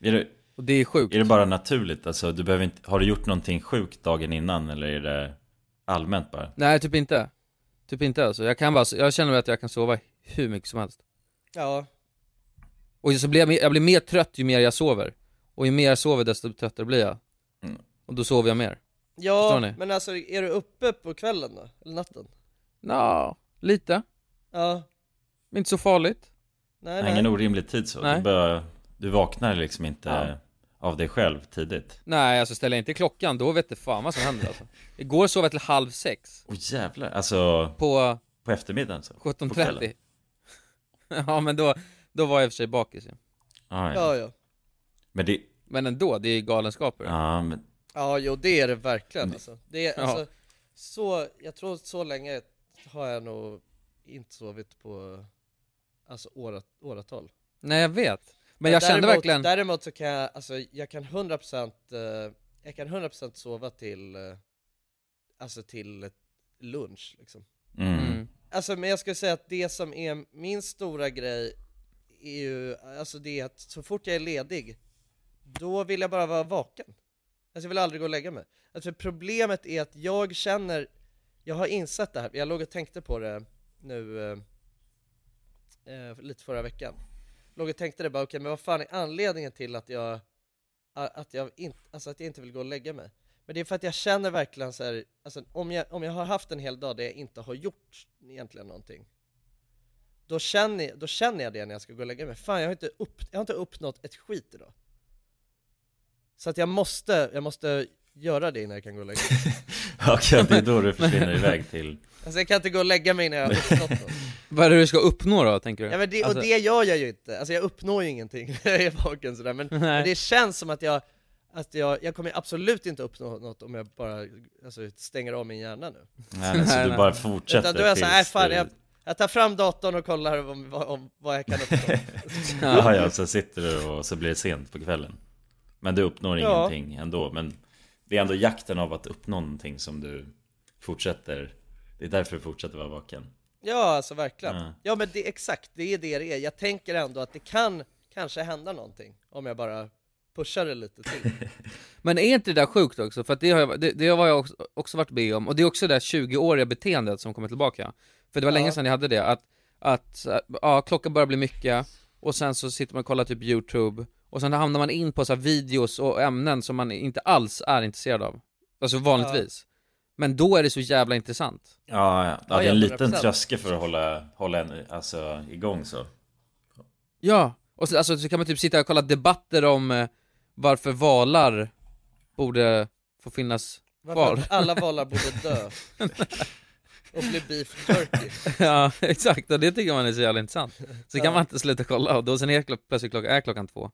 [SPEAKER 2] är det,
[SPEAKER 1] Och det är sjukt
[SPEAKER 2] Är det bara naturligt? Alltså, du behöver inte, har du gjort någonting sjukt dagen innan eller är det allmänt bara?
[SPEAKER 1] Nej typ inte, typ inte alltså, jag kan bara, jag känner att jag kan sova hur mycket som helst
[SPEAKER 3] Ja,
[SPEAKER 1] Och så blir jag, mer- jag blir
[SPEAKER 2] Mm.
[SPEAKER 1] mer trött ju mer jag sover Och ju mer jag sover desto tröttare blir jag Och då sover jag mer
[SPEAKER 13] Förstår
[SPEAKER 3] Ja,
[SPEAKER 13] ni?
[SPEAKER 3] men alltså är du uppe på kvällen då? Eller natten?
[SPEAKER 1] Nå, lite.
[SPEAKER 3] Ja,
[SPEAKER 1] Men Inte så farligt.
[SPEAKER 3] nej
[SPEAKER 2] Ingen orimlig tid så.
[SPEAKER 1] Nej.
[SPEAKER 2] Du, bör, du vaknar liksom inte av dig själv tidigt.
[SPEAKER 1] Nej, alltså ställer jag inte klockan, då vet du fan vad som händer alltså. Igår sov jag till halv sex.
[SPEAKER 2] Åh jävlar, alltså
[SPEAKER 1] På
[SPEAKER 2] på eftermiddagen så. På kvällen.
[SPEAKER 1] 17.30. (laughs) ja, men då, då var jag i och för sig bakis ju.
[SPEAKER 2] Ja, ja. Men det,
[SPEAKER 1] Men ändå, det är ju galenskaper.
[SPEAKER 2] ja men
[SPEAKER 3] Ja, jo det är det verkligen alltså. Det är
[SPEAKER 1] Ja.
[SPEAKER 3] alltså, så, jag tror så länge har jag nog inte sovit på, alltså årat, åratal.
[SPEAKER 1] Nej, jag vet. Men, jag kände
[SPEAKER 3] däremot,
[SPEAKER 1] verkligen...
[SPEAKER 3] Däremot så kan jag, alltså jag kan 100% eh, jag kan 100% sova till, eh, alltså till lunch liksom.
[SPEAKER 2] Mm.
[SPEAKER 3] Alltså men jag skulle säga att det som är min stora grej är ju, alltså det är att så fort jag är ledig, då vill jag bara vara vaken. Alltså jag vill aldrig gå och lägga mig. Alltså problemet är att jag känner, jag har insett det här, jag låg och tänkte på det nu eh, eh, lite förra veckan. Låg och tänkte det bara, okej men vad fan är anledningen till att jag, att jag, inte, alltså att jag inte vill gå och lägga mig? Men det är för att jag känner verkligen så här, alltså om jag, om jag har haft en hel dag där jag inte har gjort egentligen någonting då känner, jag- då känner jag det när jag ska gå och lägga mig, fan jag har inte, upp, jag har inte uppnått ett skit idag Så att jag måste, jag måste göra det innan jag kan gå och lägga mig
[SPEAKER 2] (laughs) Okej, det är då du försvinner iväg till...
[SPEAKER 3] Alltså jag kan inte gå och lägga mig innan jag har uppnått något
[SPEAKER 1] Vad är det du ska uppnå då, tänker du?
[SPEAKER 3] Ja, men det,
[SPEAKER 1] Alltså-
[SPEAKER 3] Och det gör jag ju inte, alltså jag uppnår ju ingenting när jag är vaken sådär men,
[SPEAKER 1] Nej.
[SPEAKER 3] men det känns som att jag, att jag, jag kommer absolut inte uppnå något om jag bara alltså, stänger av min hjärna nu
[SPEAKER 2] Nej, men så
[SPEAKER 1] Nej,
[SPEAKER 2] du
[SPEAKER 1] nej.
[SPEAKER 2] bara fortsätter
[SPEAKER 3] Utan då är jag såhär, äh,
[SPEAKER 2] tills
[SPEAKER 3] fan
[SPEAKER 2] du-
[SPEAKER 3] jag, jag tar fram datorn och kollar om, vad- om vad jag kan uppnå
[SPEAKER 2] Ja, ja, så sitter du och så blir det sent på kvällen. Men du uppnår
[SPEAKER 3] Ja.
[SPEAKER 2] ingenting ändå. Men det är ändå jakten av att uppnå någonting som du fortsätter. Det är därför du fortsätter vara vaken.
[SPEAKER 3] Ja, alltså verkligen.
[SPEAKER 2] Ja.
[SPEAKER 3] Ja, men det, exakt, det är det det är. Jag tänker ändå att det kan kanske hända någonting om jag bara pushar det lite till.
[SPEAKER 1] Men är inte det där sjukt också? För att det har jag, det, det har jag också, också varit med om, och det är också det där 20-åriga beteendet som kommer tillbaka. För det var länge sedan jag hade det, att, att så här, ja, klockan börjar bli mycket, och sen så sitter man och kollar typ YouTube, och sen hamnar man in på så här videos och ämnen som man inte alls är intresserad av. Alltså vanligtvis. Men då är det så jävla intressant.
[SPEAKER 2] Ja, ja. ja
[SPEAKER 1] Ja,
[SPEAKER 2] det är en liten
[SPEAKER 1] 100%.
[SPEAKER 2] tröskel för att hålla, hålla en, alltså, igång så.
[SPEAKER 1] Ja, och så, alltså, så kan man typ sitta och kolla debatter om eh, varför valar borde få finnas
[SPEAKER 3] Varför
[SPEAKER 1] kvar.
[SPEAKER 3] alla valar borde dö. Och bli beef jerky.
[SPEAKER 1] (laughs) ja, exakt, och det tycker man är så jävla intressant. Så
[SPEAKER 3] Ja.
[SPEAKER 1] kan man inte sluta kolla, och då sen är klo- plötsligt klockan, är klockan två.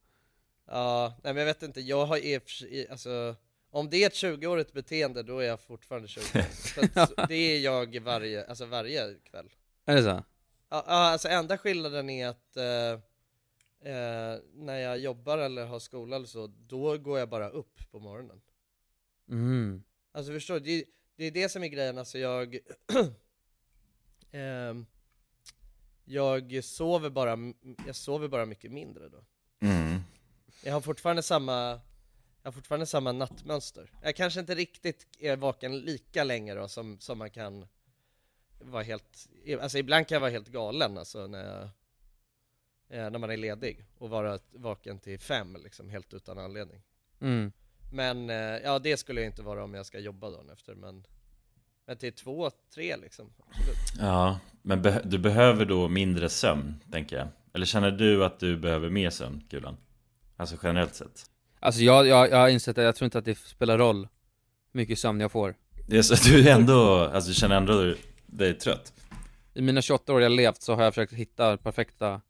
[SPEAKER 3] Ja, nej men jag vet inte, jag har i och för sig- alltså om det är ett 20-årigt beteende då är jag fortfarande 20 så att, så- Det är jag varje, alltså varje kväll.
[SPEAKER 1] Är det så?
[SPEAKER 3] Ja, ja, alltså enda skillnaden är att eh, eh, när jag jobbar eller har skola eller så, då går jag bara upp på morgonen.
[SPEAKER 1] Mm.
[SPEAKER 3] Alltså förstår du, det, är- det är det som är grejen, alltså jag (clears throat) ehm, Jag sover bara, jag sover bara mycket mindre då
[SPEAKER 2] Mm.
[SPEAKER 3] Jag har fortfarande samma, jag har fortfarande samma nattmönster Jag kanske inte riktigt är vaken lika länge då som, som man kan vara helt, alltså ibland kan jag vara helt galen alltså när jag eh, när man är ledig och vara vaken till fem liksom, helt utan anledning
[SPEAKER 1] Mm.
[SPEAKER 3] men eh, ja, det skulle jag inte vara om jag ska jobba dagen efter men Men till två, tre liksom, absolut
[SPEAKER 2] Ja, men beh- du behöver då mindre sömn, tänker jag. Eller känner du att du behöver mer sömn, Kulan? Alltså generellt sett.
[SPEAKER 1] Alltså jag, jag, jag har insett att jag tror inte att det spelar roll hur mycket sömn jag får.
[SPEAKER 2] Det är så att du ändå, alltså du känner ändå dig trött.
[SPEAKER 1] I mina 28 år jag levt så har jag försökt hitta det perfekta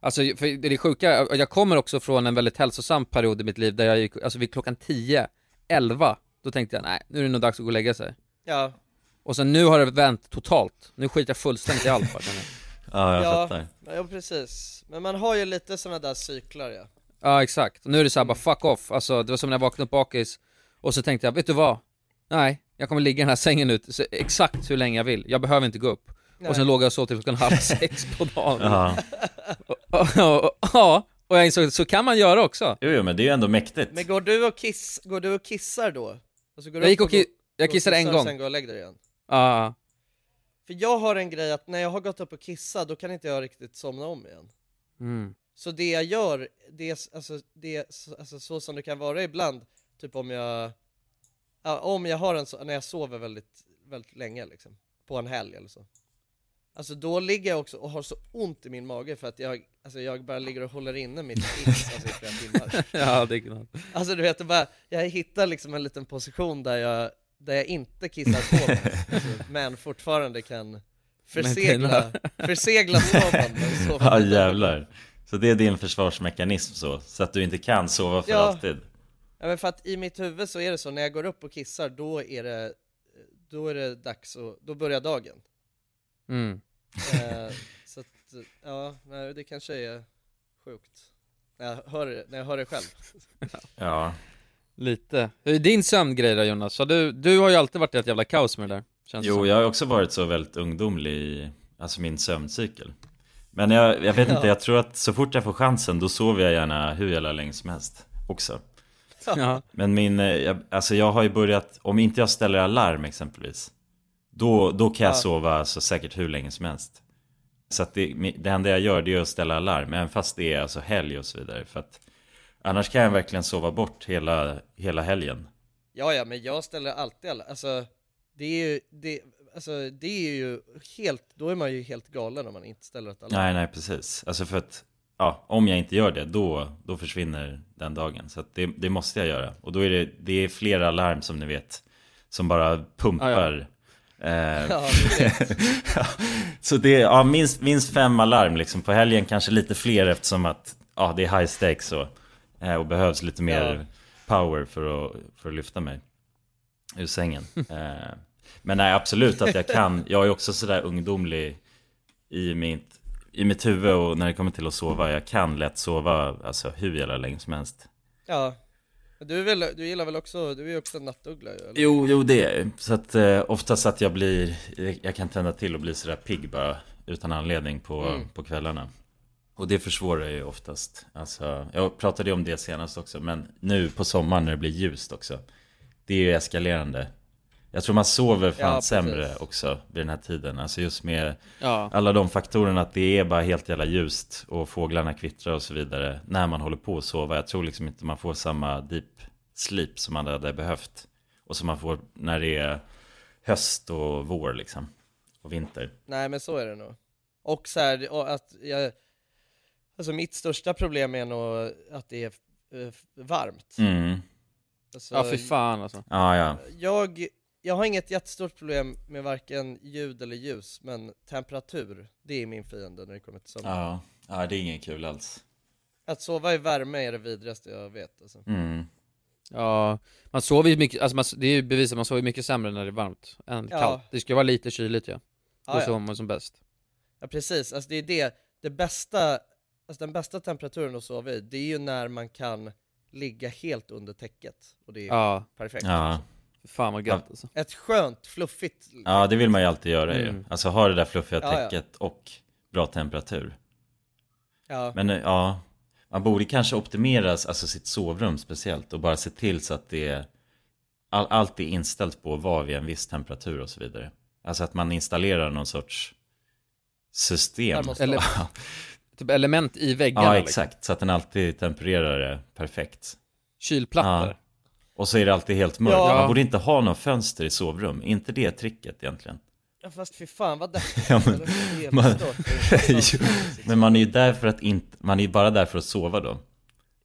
[SPEAKER 1] Alltså för det är det sjuka, jag kommer också från en väldigt hälsosam period i mitt liv där jag gick, alltså vid klockan 10, 11 Då tänkte jag nej, nu är det nog dags att gå och lägga sig
[SPEAKER 3] Ja,
[SPEAKER 1] Och sen nu har det vänt totalt, nu skiter jag fullständigt i allt bara, känner jag.
[SPEAKER 2] Ja, jag fattar.
[SPEAKER 3] ja precis Men man har ju lite sådana där cyklar ja
[SPEAKER 1] Ja exakt, och nu är det så här, bara fuck off, alltså det var som när jag vaknade upp bakis Och så tänkte jag, vet du vad? Nej, jag kommer ligga i den här sängen ut så exakt hur länge jag vill, jag behöver inte gå upp
[SPEAKER 3] Nej.
[SPEAKER 1] Och sen låg jag så till klockan (laughs) halv sex på dagen
[SPEAKER 2] Ja.
[SPEAKER 1] (laughs) och, och, och, ja, och jag insåg att så kan man göra också
[SPEAKER 2] Jo, jo, men det är ju ändå mäktigt.
[SPEAKER 3] Men går du och, kiss, går du och kissar då? Alltså, går du
[SPEAKER 1] Jag gick
[SPEAKER 3] upp
[SPEAKER 1] och ki-
[SPEAKER 3] går-
[SPEAKER 1] jag
[SPEAKER 3] går och
[SPEAKER 1] kissade en
[SPEAKER 3] kissar
[SPEAKER 1] gång.
[SPEAKER 3] och Sen går och lägger dig igen
[SPEAKER 1] Ja,
[SPEAKER 3] För jag har en grej att när jag har gått upp och kissat då kan inte jag riktigt somna om igen
[SPEAKER 1] mm.
[SPEAKER 3] Så det jag gör, det är, s- alltså, det är, s- alltså, så som det kan vara ibland, typ om jag Ja, om jag har en så, när jag sover väldigt, väldigt länge liksom, på en helg eller så. Alltså då ligger jag också och har så ont i min mage för att jag, alltså jag bara ligger och håller inne
[SPEAKER 2] (laughs)
[SPEAKER 3] mitt x alltså, i flera timmar.
[SPEAKER 1] (laughs)
[SPEAKER 14] Ja, det kan
[SPEAKER 3] Alltså du vet, det bara, jag hittar liksom en liten position där jag, där jag inte kissar på mig, alltså, men fortfarande kan försegla, försegla sovande.
[SPEAKER 2] (laughs) Ja jävlar. Så det är din försvarsmekanism så, så att du inte kan sova för
[SPEAKER 3] Ja.
[SPEAKER 2] alltid.
[SPEAKER 3] Ja men för att i mitt huvud så är det så, när jag går upp och kissar då är det, då är det dags och, då börjar dagen.
[SPEAKER 14] Mm.
[SPEAKER 3] Eh, så att, ja, nej, det kanske är sjukt. När jag hör, det- när jag hör det själv.
[SPEAKER 2] Ja. alltså
[SPEAKER 14] Lite. Hur är din sömngrej då Jonas? Så du, du har ju alltid varit i ett jävla kaos med det där. Känns det
[SPEAKER 2] Jo,
[SPEAKER 14] som.
[SPEAKER 2] jag har också varit så väldigt ungdomlig i alltså min sömncykel. Men jag, jag vet
[SPEAKER 14] Ja.
[SPEAKER 2] inte, jag tror att så fort jag får chansen då sover jag gärna hur jävla länge som helst också.
[SPEAKER 1] (laughs)
[SPEAKER 14] Ja.
[SPEAKER 2] Men min, eh, jag, alltså jag har ju börjat, om inte jag ställer alarm exempelvis, då, då kan jag
[SPEAKER 14] Ja.
[SPEAKER 2] sova så säkert hur länge som helst. Så att det, mi- det enda jag gör det är att ställa alarm, även fast det är alltså helg och så vidare. För att annars kan jag verkligen sova bort hela, hela helgen.
[SPEAKER 3] Ja, ja, men jag ställer alltid alla, alltså det är ju, det, alltså, det är ju helt, då är man ju helt galen om man inte ställer ett alarm.
[SPEAKER 2] Nej, nej, precis. Alltså för att, ja, om jag inte gör det, då, då försvinner den dagen. Så att det, det måste jag göra. Och då är det, det är flera larm som ni vet, som bara pumpar.
[SPEAKER 3] (laughs)
[SPEAKER 2] Eh,
[SPEAKER 3] Ja, precis.
[SPEAKER 2] Ja, så det är, ja, minst, minst fem alarm liksom. På helgen kanske lite fler eftersom att, ja, det är high stakes och, eh, och behövs lite mer power för att, för att lyfta mig ur sängen. Eh, Men nej, absolut att jag kan. Jag är också sådär ungdomlig i mitt, i mitt huvud och när det kommer till att sova. Jag kan lätt sova alltså, hur jävla länge som helst.
[SPEAKER 3] Ja. Men Du, är väl, du gillar väl också, du är ju också en nattuggla ju, eller?
[SPEAKER 2] Jo, jo det är Så att eh, oftast att jag blir, jag, jag kan tända till och bli sådär pigg bara utan anledning på,
[SPEAKER 3] Mm.
[SPEAKER 2] på kvällarna. Och det försvårar ju oftast. Alltså, jag pratade ju om det senast också, men nu på sommaren när det blir ljust också. Det är ju eskalerande. Jag tror man sover fan
[SPEAKER 14] Ja, precis.
[SPEAKER 2] sämre också vid den här tiden. Alltså just med
[SPEAKER 14] Ja.
[SPEAKER 2] alla de faktorerna att det är bara helt jävla ljust och fåglarna kvittrar och så vidare när man håller på att sova. Jag tror liksom inte man får samma deep sleep som man hade behövt och som man får när det är höst och vår liksom och vinter.
[SPEAKER 3] Nej men så är det nog. Och så här, och att jag, alltså mitt största problem är nog att det är eh, varmt.
[SPEAKER 2] Mm.
[SPEAKER 3] Alltså,
[SPEAKER 14] Ja, fy fan, alltså.
[SPEAKER 2] Ja, ja.
[SPEAKER 3] Jag, jag har inget jättestort problem med varken ljud eller ljus, men temperatur, det är min fiende när det kommer till sommar.
[SPEAKER 2] Ja, ja det är ingen kul alls.
[SPEAKER 3] Att sova i värme är det vidrigaste jag vet alltså.
[SPEAKER 2] Mm.
[SPEAKER 14] Ja, man sover ju mycket, alltså man, det är ju bevisat, man sover ju mycket sämre när det är varmt än
[SPEAKER 3] Ja.
[SPEAKER 14] kallt. Det ska vara lite kyligt ja. Då
[SPEAKER 3] Ja, ja.
[SPEAKER 14] sover man som bäst.
[SPEAKER 3] Ja precis, alltså det är det, det bästa, alltså den bästa temperaturen att sova i, det är ju när man kan ligga helt under täcket. Och det är ju
[SPEAKER 14] Ja.
[SPEAKER 3] perfekt.
[SPEAKER 2] Ja.
[SPEAKER 14] Fan vad gött alltså.
[SPEAKER 3] Ett skönt, fluffigt
[SPEAKER 2] ja, det vill man ju alltid göra ju.
[SPEAKER 14] Mm.
[SPEAKER 2] Alltså ha det där fluffiga
[SPEAKER 3] Ja, ja.
[SPEAKER 2] täcket och bra temperatur.
[SPEAKER 3] Ja.
[SPEAKER 2] Men eh, ja, man borde kanske optimera alltså, sitt sovrum speciellt och bara se till så att det är all, allt är inställt på att vara vid en viss temperatur och så vidare. Alltså att man installerar någon sorts system.
[SPEAKER 14] Eller, typ element i väggarna.
[SPEAKER 2] ja,
[SPEAKER 14] liksom.
[SPEAKER 2] exakt. Så att den alltid tempererar det perfekt.
[SPEAKER 14] Kylplattor.
[SPEAKER 2] Ja. Och så är det alltid helt mörkt.
[SPEAKER 3] Ja.
[SPEAKER 2] Man borde inte ha någon fönster i sovrum. inte det tricket egentligen?
[SPEAKER 3] Ja fast fy fan vad deppigt
[SPEAKER 2] (laughs) Ja, men,
[SPEAKER 3] alltså. Det är
[SPEAKER 2] man,
[SPEAKER 3] helt stört.
[SPEAKER 2] (laughs) jo, men man är ju där för att inte, man är ju bara där för att sova då.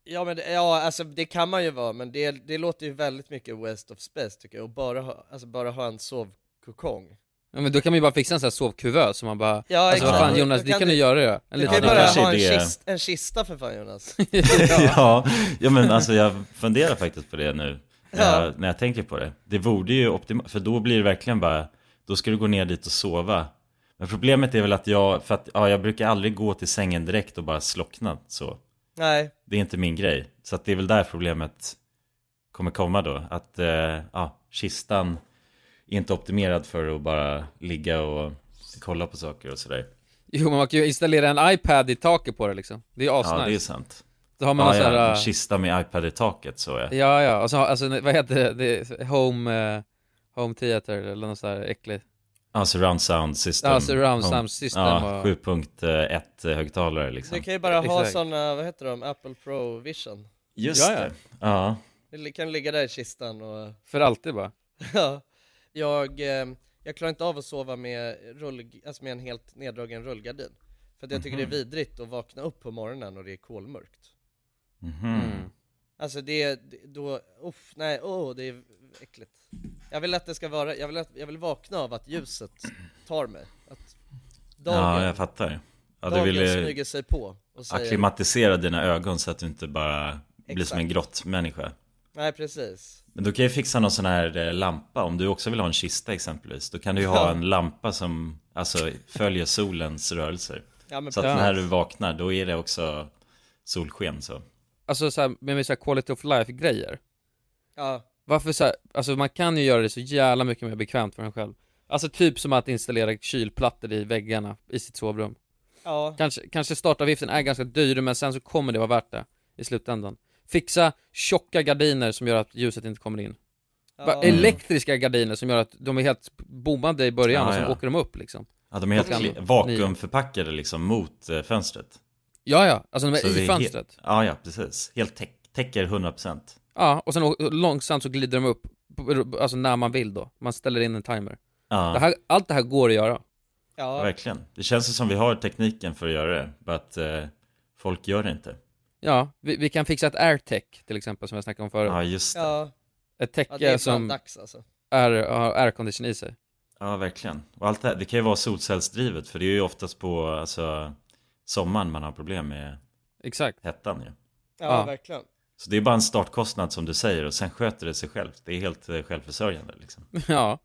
[SPEAKER 3] Ja men det- ja, alltså det kan man ju vara, men det, det låter ju väldigt mycket West of Space tycker jag, och bara ha, alltså, bara ha en sovkokong.
[SPEAKER 14] Ja, men då kan man ju bara fixa en sån här sovkuvös som man bara,
[SPEAKER 3] Ja,
[SPEAKER 14] alltså vad
[SPEAKER 3] exakt.
[SPEAKER 14] fan Jonas,
[SPEAKER 3] Då
[SPEAKER 14] det
[SPEAKER 3] kan
[SPEAKER 14] kan
[SPEAKER 3] du-
[SPEAKER 14] du göra ju. En
[SPEAKER 3] Du kan ju
[SPEAKER 14] liten
[SPEAKER 3] bara
[SPEAKER 2] kanske
[SPEAKER 3] ha en,
[SPEAKER 2] det-
[SPEAKER 3] kist, en kista för fan Jonas. (laughs)
[SPEAKER 2] (laughs) ja, ja men alltså jag funderar faktiskt på det nu. När,
[SPEAKER 3] Ja.
[SPEAKER 2] jag, när jag tänker på det. Det vore ju optimalt, för då blir det verkligen bara, då ska du gå ner dit och sova. Men problemet är väl att jag, för att ja, jag brukar aldrig gå till sängen direkt och bara slockna så.
[SPEAKER 3] Nej.
[SPEAKER 2] Det är inte min grej. Så att det är väl där problemet kommer komma då. Att eh, ja, kistan är inte optimerad för att bara ligga och kolla på saker och sådär.
[SPEAKER 14] (laughs) Jo, men man kan ju installera en iPad i taket på det liksom. Det är ju asnice.
[SPEAKER 2] Ja, det är sant.
[SPEAKER 14] Då har man
[SPEAKER 1] alltså
[SPEAKER 14] någon
[SPEAKER 2] ja,
[SPEAKER 14] sån här,
[SPEAKER 2] ja,
[SPEAKER 1] eh,
[SPEAKER 14] äh,
[SPEAKER 2] en kista med iPad i taket så ja.
[SPEAKER 14] Ja, ja, och så har, alltså vad heter det, det är home, eh, home theater eller något sånt där äckligt.
[SPEAKER 2] Ja, surround Alltså sound system.
[SPEAKER 14] Ja, surround
[SPEAKER 2] Home-
[SPEAKER 14] sound system
[SPEAKER 2] Ja,
[SPEAKER 14] och-
[SPEAKER 2] 7.1 högtalare liksom.
[SPEAKER 3] Du kan ju bara ha
[SPEAKER 14] Exakt.
[SPEAKER 3] sådana, vad heter de, Apple Pro Vision.
[SPEAKER 2] Just det. Ja,
[SPEAKER 3] Det kan ligga där i kistan och...
[SPEAKER 1] För alltid bara.
[SPEAKER 3] (laughs) Ja, jag, eh, jag klarar inte av att sova med, rull, alltså med en helt neddragen rullgardin. För att jag tycker
[SPEAKER 2] Mhm.
[SPEAKER 3] det är vidrigt att vakna upp på morgonen och det är kolmörkt.
[SPEAKER 2] Mhm.
[SPEAKER 3] Alltså det, är- det- då, uff, nej, åh, det är äckligt. Jag vill att det ska vara, jag vill, att, jag vill vakna av att ljuset tar mig. Att
[SPEAKER 2] ja, jag fattar. Ja, du
[SPEAKER 3] dagen
[SPEAKER 2] ville
[SPEAKER 3] smyger sig på och säger-
[SPEAKER 2] acklimatisera dina ögon så att du inte bara blir som en
[SPEAKER 3] Exakt.
[SPEAKER 2] grottmänniska.
[SPEAKER 3] Nej, precis.
[SPEAKER 2] Men då kan jag fixa någon sån här eh, lampa, om du också vill ha en kista exempelvis. Då kan du ju
[SPEAKER 3] Ja.
[SPEAKER 2] ha en lampa som alltså, följer solens rörelser.
[SPEAKER 1] Ja, men
[SPEAKER 2] så att
[SPEAKER 1] precis.
[SPEAKER 2] när du vaknar, då är det också solsken så.
[SPEAKER 1] Alltså så här, med så här quality of life grejer.
[SPEAKER 3] Ja.
[SPEAKER 1] Varför så här, alltså man kan ju göra det så jävla mycket mer bekvämt för en själv. Alltså typ som att installera kylplattor i väggarna i sitt sovrum.
[SPEAKER 3] Ja.
[SPEAKER 1] Kanske, kanske startavgiften är ganska dyr men sen så kommer det vara värt det i slutändan. Fixa tjocka gardiner som gör att ljuset inte kommer in. Bara
[SPEAKER 3] Ja.
[SPEAKER 1] Elektriska gardiner som gör att de är helt bommade i början
[SPEAKER 2] Ja,
[SPEAKER 1] och sen
[SPEAKER 2] ja.
[SPEAKER 1] åker de upp liksom.
[SPEAKER 2] Ja, de är helt
[SPEAKER 1] Klockan
[SPEAKER 2] kli-
[SPEAKER 1] nio.
[SPEAKER 2] vakuumförpackade liksom mot eh, fönstret.
[SPEAKER 1] Ja, ja, alltså de är
[SPEAKER 2] Så
[SPEAKER 1] i
[SPEAKER 2] det helt-
[SPEAKER 1] fönstret.
[SPEAKER 2] Ja, ja, precis. Helt täck- täcker 100%.
[SPEAKER 1] Ja, och sen å- långsamt så glider de upp, på- alltså när man vill då. Man ställer in en timer.
[SPEAKER 2] Ja.
[SPEAKER 1] Det här, allt det här går att göra.
[SPEAKER 3] Ja.
[SPEAKER 2] Verkligen. Det känns ju som vi har tekniken för att göra det, bara att eh, folk gör det inte.
[SPEAKER 1] Ja, vi, vi kan fixa ett airtech till exempel som jag snackade om förut.
[SPEAKER 2] Ja, just det.
[SPEAKER 3] Ja.
[SPEAKER 1] Ett
[SPEAKER 3] Ja,
[SPEAKER 1] täcke
[SPEAKER 3] det är
[SPEAKER 1] som
[SPEAKER 3] fan dags, alltså.
[SPEAKER 1] är, har aircondition i sig.
[SPEAKER 2] Ja, verkligen. Och allt det här, det kan ju vara solcellsdrivet, för det är ju oftast på alltså, sommaren man har problem med
[SPEAKER 1] Exakt.
[SPEAKER 2] hettan ju.
[SPEAKER 3] Ja, verkligen.
[SPEAKER 2] Så det är bara en startkostnad som du säger och sen sköter det sig självt. Det är helt eh, självförsörjande liksom.
[SPEAKER 1] (laughs) Ja.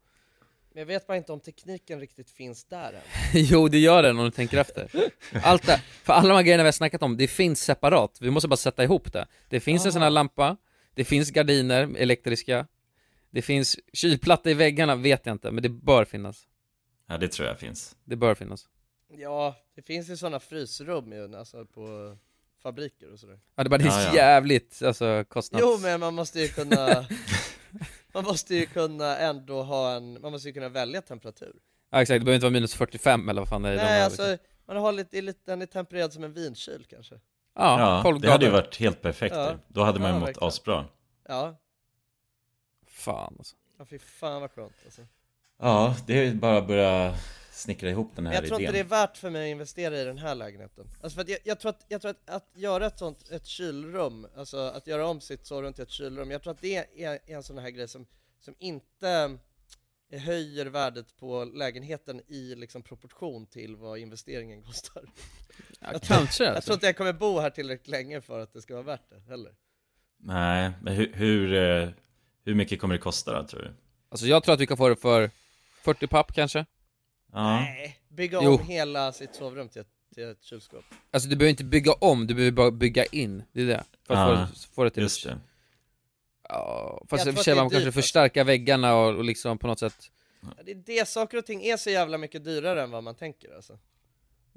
[SPEAKER 3] Men jag vet bara inte om tekniken riktigt finns där än.
[SPEAKER 1] jo, det gör den om du tänker efter. (laughs) Allt det, för alla de här grejerna vi har snackat om, det finns separat. Vi måste bara sätta ihop det. Det finns en sån
[SPEAKER 3] Ah.
[SPEAKER 1] här lampa, det finns gardiner, elektriska, det finns kylplatta i väggarna, vet jag inte, men det bör finnas.
[SPEAKER 2] Ja, det tror jag finns.
[SPEAKER 1] Det bör finnas.
[SPEAKER 3] Ja, det finns ju sådana frysrum ju, alltså på fabriker och sådär.
[SPEAKER 1] Ja, det, bara, det är
[SPEAKER 2] Ja, ja.
[SPEAKER 1] jävligt alltså, kostnads...
[SPEAKER 3] Jo men man måste ju kunna, (laughs) man måste ju kunna ändå ha en, man måste ju kunna välja temperatur.
[SPEAKER 1] Ja, exakt, det behöver inte vara minus 45 eller vad fan det är. i de
[SPEAKER 3] Nej
[SPEAKER 1] här,
[SPEAKER 3] alltså, man har lite, det är lite, den är tempererad som en vinkyl kanske.
[SPEAKER 1] Ja, tolv
[SPEAKER 2] det hade ju
[SPEAKER 1] grader.
[SPEAKER 2] varit helt perfekt.
[SPEAKER 3] Ja.
[SPEAKER 2] ju. Då hade man ju
[SPEAKER 3] Ja,
[SPEAKER 2] mått
[SPEAKER 3] verkligen.
[SPEAKER 2] asbra.
[SPEAKER 3] Ja,
[SPEAKER 1] Fan alltså.
[SPEAKER 3] ja fy fan vad skönt alltså.
[SPEAKER 2] Ja, det är ju bara att börja snickra ihop den
[SPEAKER 3] Men
[SPEAKER 2] här
[SPEAKER 3] jag tror
[SPEAKER 2] idén.
[SPEAKER 3] inte det är värt för mig att investera i den här lägenheten. Alltså för att jag, jag tror att, jag tror att, att göra ett sånt, ett kylrum, alltså att göra om sitt sovrum till ett kylrum, jag tror att det är är en sån här grej som, som inte eh, höjer värdet på lägenheten i liksom proportion till vad investeringen kostar. jag, tror-
[SPEAKER 1] kanske,
[SPEAKER 3] jag
[SPEAKER 1] alltså.
[SPEAKER 3] tror inte jag kommer bo här tillräckligt länge för att det ska vara värt det heller.
[SPEAKER 2] Nej, men hur, hur, eh, hur mycket kommer det kosta då tror du?
[SPEAKER 1] Alltså jag tror att vi kan få det för 40 papp kanske.
[SPEAKER 2] Ja.
[SPEAKER 3] Nej, bygga om
[SPEAKER 1] Jo.
[SPEAKER 3] hela sitt sovrum till ett, till ett kylskåp.
[SPEAKER 1] Alltså du behöver inte bygga om, du behöver bara bygga in. Det är det. För att
[SPEAKER 2] Ja,
[SPEAKER 1] få, det- få det till
[SPEAKER 2] Ah, just det.
[SPEAKER 1] Ja, fast
[SPEAKER 3] Jag
[SPEAKER 1] i och för
[SPEAKER 3] tror
[SPEAKER 1] sig
[SPEAKER 3] att det
[SPEAKER 1] man
[SPEAKER 3] är
[SPEAKER 1] kanske
[SPEAKER 3] dyrt, alltså.
[SPEAKER 1] förstärka väggarna och, och liksom på något sätt
[SPEAKER 3] Ja, Det är det, saker och ting är så jävla mycket dyrare än vad man tänker alltså.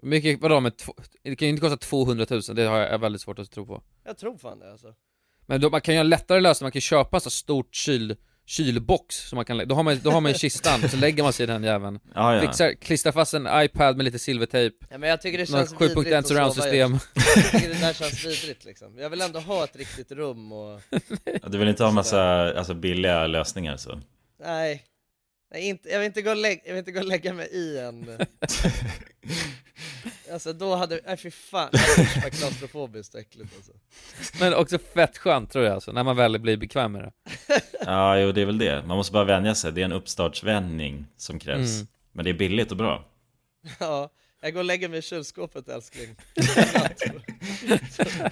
[SPEAKER 1] Mycket, vadå men två, det kan ju inte kosta 200 000, det har jag är väldigt svårt att tro på
[SPEAKER 3] Jag tror fan det alltså.
[SPEAKER 1] Men då, man kan ju ha en lättare lösning, man kan ju köpa en så stort kyl, kylbox som man kan lä- då har man, då har man ju kistan, så lägger man sig i den jäveln
[SPEAKER 2] Ja, ja.
[SPEAKER 1] Fixar, klistrar fast en iPad med lite silvertejp
[SPEAKER 3] Ja, men jag tycker det
[SPEAKER 1] Någon
[SPEAKER 3] känns vidrigt att sova i.
[SPEAKER 1] surround-system
[SPEAKER 3] Jag tycker det där känns vidrigt liksom. Jag vill ändå ha ett riktigt rum och...
[SPEAKER 2] Ja, Du vill inte ha massa alltså, billiga lösningar så?
[SPEAKER 3] Nej. Nej inte, jag, vill inte gå och lägga, jag vill inte gå och lägga mig i
[SPEAKER 1] (laughs)
[SPEAKER 3] en... alltså då hade... Nej fy fan. Det var klaustrofobiskt och äckligt alltså.
[SPEAKER 1] (laughs) Men också fett skönt tror jag alltså, när man väl blir bekväm med det
[SPEAKER 2] Ja, jo det är väl det. Man måste bara vänja sig. Det är en uppstartsvänjning som krävs.
[SPEAKER 1] Mm.
[SPEAKER 2] Men det är billigt och bra.
[SPEAKER 3] Ja, jag går och lägger mig i kylskåpet älskling.
[SPEAKER 2] (laughs)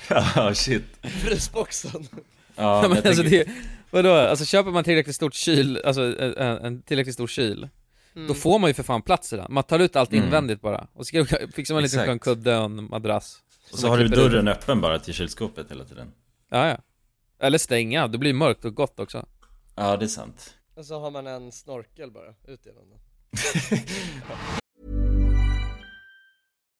[SPEAKER 2] Ja, shit.
[SPEAKER 3] Frysboxen.
[SPEAKER 2] Ja,
[SPEAKER 1] men
[SPEAKER 2] men jag
[SPEAKER 1] alltså
[SPEAKER 2] tänker-
[SPEAKER 1] det, vadå? Alltså köper man tillräckligt stort kyl, alltså en, en- en tillräckligt stor kyl
[SPEAKER 3] Mm.
[SPEAKER 1] Då får man ju för fan plats i den, man tar ut allt
[SPEAKER 2] Mm.
[SPEAKER 1] invändigt bara Och så ska- (laughs) fixar man en liten
[SPEAKER 2] Exakt.
[SPEAKER 1] skön kudde och en madrass
[SPEAKER 2] Och
[SPEAKER 1] som
[SPEAKER 2] så
[SPEAKER 1] man
[SPEAKER 2] har du
[SPEAKER 1] klipper ut.
[SPEAKER 2] dörren öppen bara till kylskåpet hela tiden.
[SPEAKER 1] Ja, ja. Eller stänga, det blir mörkt och gott också
[SPEAKER 2] Ja, det är sant.
[SPEAKER 3] Och så har man en snorkel bara, ut genom den.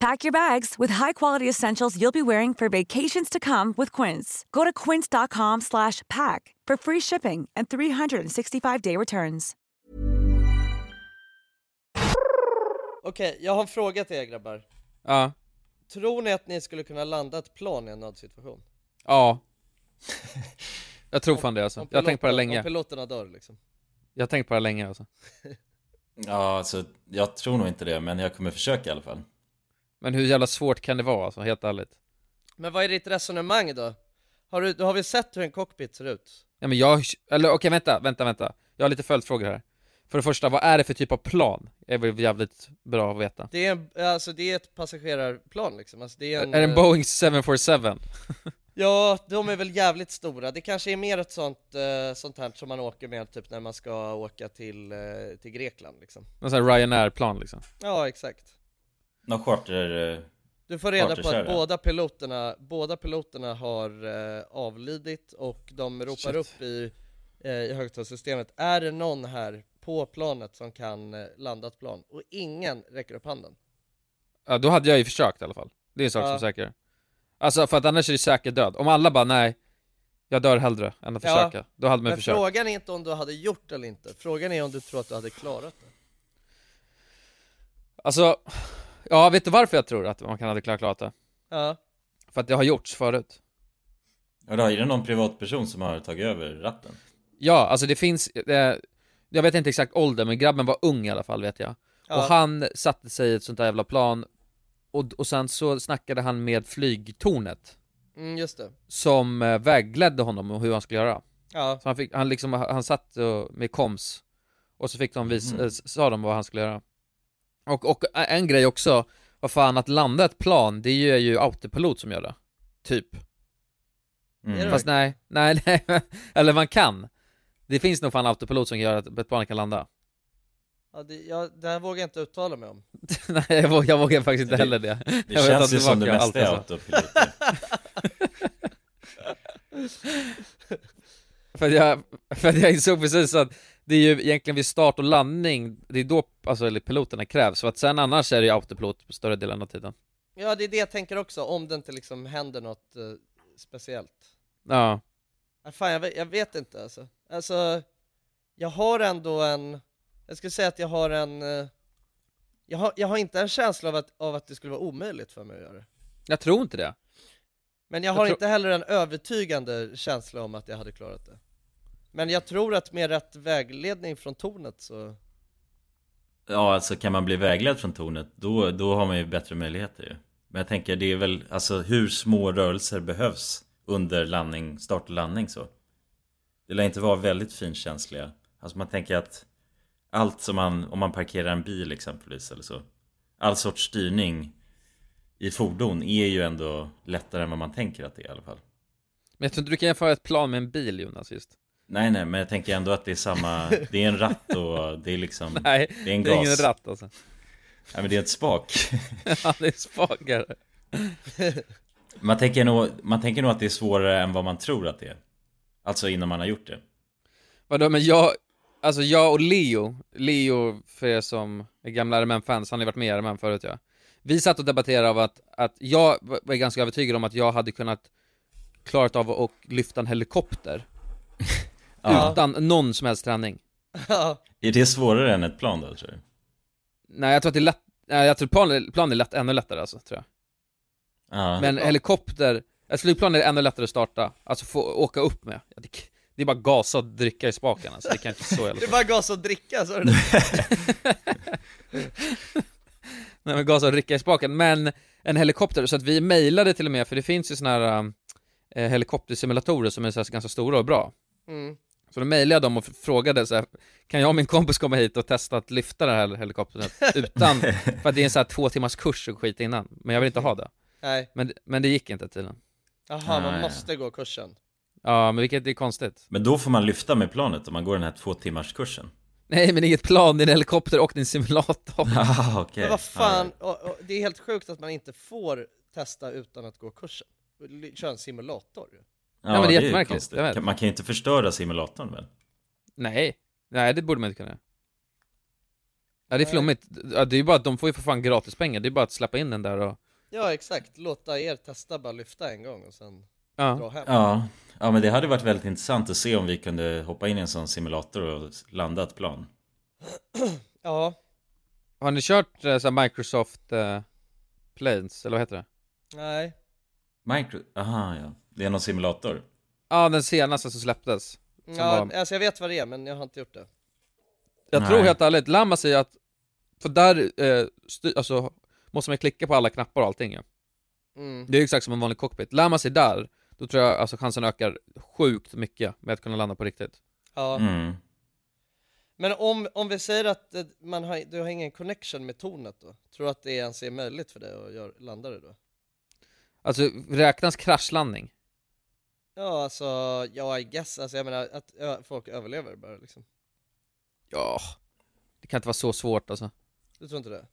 [SPEAKER 15] Pack your bags with high-quality essentials you'll be wearing for vacations to come with Quince. Go to quince.com slash pack for free shipping and 365-day returns.
[SPEAKER 3] Okej, jag har en fråga till er grabbar.
[SPEAKER 1] Ja,
[SPEAKER 3] Tror ni att ni skulle kunna landa ett plan i en nödsituation?
[SPEAKER 2] (laughs)
[SPEAKER 1] ja Jag tror fan det alltså,
[SPEAKER 3] Om
[SPEAKER 1] jag har tänkt på det
[SPEAKER 3] piloten- Om
[SPEAKER 1] länge
[SPEAKER 3] piloterna dör liksom.
[SPEAKER 1] Jag har tänkt på det länge alltså
[SPEAKER 2] Ja, alltså jag tror nog inte det, men jag kommer försöka i alla fall.
[SPEAKER 1] Men hur jävla svårt kan det vara alltså, helt ärligt?
[SPEAKER 3] Men vad är ditt resonemang då? Har, du, har vi sett hur en cockpit ser ut?
[SPEAKER 1] Ja men jag, eller okej vänta, vänta, vänta Jag har lite följdfrågor här För det första, vad är det för typ av plan? Det är väl jävligt bra att veta
[SPEAKER 3] Det är, en, alltså, det är ett passagerarplan liksom, alltså, det är en...
[SPEAKER 1] Är det en
[SPEAKER 3] eh,
[SPEAKER 1] Boeing 747?
[SPEAKER 3] Ja, de är väl jävligt stora. Det kanske är mer ett sånt, eh, sånt här som man åker med typ när man ska åka till, eh, till Grekland liksom.
[SPEAKER 1] Någon sån här Ryanair-plan liksom
[SPEAKER 3] Ja, exakt.
[SPEAKER 2] Någon charter... eh,
[SPEAKER 3] Du får reda på att
[SPEAKER 2] charterkärra.
[SPEAKER 3] båda piloterna, båda piloterna har eh, avlidit och de ropar
[SPEAKER 2] Shit.
[SPEAKER 3] upp i, eh, i högtalarsystemet Är det någon här på planet som kan eh, landa ett plan? Och ingen räcker upp handen.
[SPEAKER 1] Ja då hade jag ju försökt i alla fall Det är en sak som
[SPEAKER 3] Ja.
[SPEAKER 1] är säker Alltså för att annars är det säker död, om alla bara nej Jag dör hellre än att
[SPEAKER 3] Ja,
[SPEAKER 1] försöka, då hade man ju
[SPEAKER 3] Men
[SPEAKER 1] försökt
[SPEAKER 3] frågan är inte om du hade gjort det eller inte, frågan är om du tror att du hade klarat det.
[SPEAKER 1] Alltså, ja vet du varför jag tror att man kan hade klarat klarat det?
[SPEAKER 3] Ja.
[SPEAKER 1] För att det har gjorts förut
[SPEAKER 2] Ja, då är det någon privatperson som har tagit över ratten.
[SPEAKER 1] Ja, alltså det finns, eh, jag vet inte exakt ålder men grabben var ung i alla fall vet jag
[SPEAKER 2] Ja.
[SPEAKER 1] Och han satte sig i ett sånt där jävla plan och, och sen så snackade han med flygtornet
[SPEAKER 3] Mm, just det.
[SPEAKER 1] Som eh, vägledde honom om hur han skulle göra
[SPEAKER 3] Ja.
[SPEAKER 1] Så han, fick, han, liksom, han satt och, med koms Och så fick de vis,
[SPEAKER 2] Mhm.
[SPEAKER 1] eh, s- sa de vad han skulle göra och, och eh, en grej också, vad fan att landa ett plan, det är ju autopilot som gör det Typ
[SPEAKER 2] Mm.
[SPEAKER 1] Fast nej, nej, (laughs) nej, eller man kan. Det finns nog fan autopilot som gör att ett plan kan landa. (laughs)
[SPEAKER 3] Ja, det, jag, det här vågar jag inte uttala mig (laughs) om.
[SPEAKER 1] nej, jag vågar, jag vågar faktiskt inte
[SPEAKER 2] Det-
[SPEAKER 1] heller det.
[SPEAKER 2] det
[SPEAKER 1] Jag vill
[SPEAKER 2] känns
[SPEAKER 1] ta
[SPEAKER 2] ju som det
[SPEAKER 1] tillbaka
[SPEAKER 2] mesta är
[SPEAKER 1] allt alltså. jag sa. för, att jag, för att jag insåg precis att det är ju egentligen vid start och landning, det är då alltså, eller piloterna krävs, för att sen annars är det ju autopilot på större delen av tiden.
[SPEAKER 3] Ja, det är det jag tänker också, om det inte liksom händer något eh, speciellt.
[SPEAKER 1] Ja,
[SPEAKER 3] Nej, Fan, jag vet, jag vet inte alltså. Alltså, jag har ändå en... Jag skulle säga att jag har en... eh, Jag har, jag har inte en känsla av att, av att det skulle vara omöjligt för mig att göra det.
[SPEAKER 1] jag tror inte det.
[SPEAKER 3] Men jag
[SPEAKER 1] Jag
[SPEAKER 3] har
[SPEAKER 1] tror-
[SPEAKER 3] inte heller en övertygande känsla om att jag hade klarat det. Men jag tror att med rätt vägledning från tornet så... (laughs)
[SPEAKER 2] Ja, alltså kan man bli vägledd från tornet, då, då har man ju bättre möjligheter ju. Men jag tänker, det är väl, alltså hur små rörelser behövs under landning, start och landning så? Det lär inte vara väldigt finkänsliga. Alltså man tänker att allt som man, om man parkerar en bil exempelvis eller så. All sorts styrning i fordon är ju ändå lättare än vad man tänker att det är i alla fall.
[SPEAKER 1] Men jag tror inte du kan jämföra ett plan med en bil Jonas just.
[SPEAKER 2] Nej, nej, men jag tänker ändå att det är samma, det är en ratt och det är liksom,
[SPEAKER 1] (laughs) Nej,
[SPEAKER 2] det är en gas.
[SPEAKER 1] ingen ratt alltså. (laughs)
[SPEAKER 2] Nej, men det är ett spak.
[SPEAKER 1] ja, det är spakare.
[SPEAKER 2] Man tänker, nog, man tänker nog att det är svårare än vad man tror att det är. Alltså innan man har gjort det.
[SPEAKER 1] Vadå, men jag, alltså jag och Leo, Leo för er som är gamla RMM-fans, han har ju varit med i RMM förut ja. Vi satt och debatterade av att, att jag var ganska övertygad om att jag hade kunnat klarat av att lyfta en helikopter.
[SPEAKER 2] Ja.
[SPEAKER 1] Utan någon som helst träning.
[SPEAKER 2] Är det svårare än ett plan då tror du?
[SPEAKER 1] Nej jag tror att det är lätt, nej, jag tror plan, plan är lätt, ännu lättare alltså, tror jag.
[SPEAKER 2] Ja.
[SPEAKER 1] Men helikopter, ett flygplan är ännu lättare att starta, alltså få åka upp med. Ja, Det, det är bara gasa och dricka i spaken alltså, det kan inte så
[SPEAKER 3] (laughs)
[SPEAKER 1] jävla
[SPEAKER 3] Det är bara gas och dricka, sa du det?
[SPEAKER 1] Nej men gasa och rycka i spaken, men en helikopter, så att vi mejlade till och med, för det finns ju såna här eh, helikoptersimulatorer som är så här, ganska stora och bra.
[SPEAKER 3] Mm.
[SPEAKER 1] Så då mejlade jag dem och f- frågade så här, kan jag och min kompis komma hit och testa att lyfta den här helikoptern utan, för att det är en så här två timmars kurs och skit innan, men jag vill inte ha det.
[SPEAKER 3] Nej.
[SPEAKER 1] Men, men det gick inte tydligen.
[SPEAKER 3] Jaha, man
[SPEAKER 2] Nej.
[SPEAKER 3] måste gå kursen.
[SPEAKER 1] Ja, men vilket det är konstigt.
[SPEAKER 2] Men då får man lyfta med planet om man går den här två timmars kursen.
[SPEAKER 1] Nej men inget plan, det är en helikopter och din simulator.
[SPEAKER 2] Ah, okej.
[SPEAKER 3] Men vad fan, och, och, det är helt sjukt att man inte får testa utan att gå kursen. Ly- Köra en simulator ju.
[SPEAKER 2] Ja,
[SPEAKER 1] Nej, men det är
[SPEAKER 2] ju
[SPEAKER 1] jättemärkligt,
[SPEAKER 2] konstigt.
[SPEAKER 1] jag vet.
[SPEAKER 2] Kan- Man kan ju inte förstöra simulatorn väl?
[SPEAKER 1] Nej, nej det borde man inte kunna göra. Ja det är flummigt, ja, det är ju bara att de får ju för fan gratis pengar. det är bara att släppa in den där och...
[SPEAKER 3] Ja exakt, låta er testa bara lyfta en gång och sen dra hem.
[SPEAKER 2] Ja. ja, men det hade varit väldigt intressant att se om vi kunde hoppa in i en sån simulator och landa ett plan.
[SPEAKER 3] Ja,
[SPEAKER 1] Har ni kört eh, så här Microsoft eh, Planes, eller vad heter det?
[SPEAKER 3] nej.
[SPEAKER 2] Micro... Aha, ja. Det är någon simulator.
[SPEAKER 1] Ja den senaste som släpptes. Som
[SPEAKER 3] Ja,
[SPEAKER 1] var...
[SPEAKER 3] alltså jag vet vad det är men jag har inte gjort det.
[SPEAKER 1] Jag
[SPEAKER 2] Nej.
[SPEAKER 1] tror helt ärligt, Lamma säger att, för där eh, styr, alltså, måste man klicka på alla knappar och allting ja.
[SPEAKER 3] Mm.
[SPEAKER 1] Det är ju exakt som en vanlig cockpit. Lär man sig där, då tror jag alltså chansen ökar sjukt mycket med att kunna landa på riktigt.
[SPEAKER 3] Ja.
[SPEAKER 2] Mm.
[SPEAKER 3] Men om, om vi säger att eh, man har, du har ingen connection med tornet då? Tror du att det ens är möjligt för dig att gör, landa det då?
[SPEAKER 1] Alltså räknas kraschlandning?
[SPEAKER 3] Ja alltså, ja I guess, alltså jag menar att ö, folk överlever bara liksom.
[SPEAKER 1] Ja, det kan inte vara så svårt alltså.
[SPEAKER 3] Du tror inte det?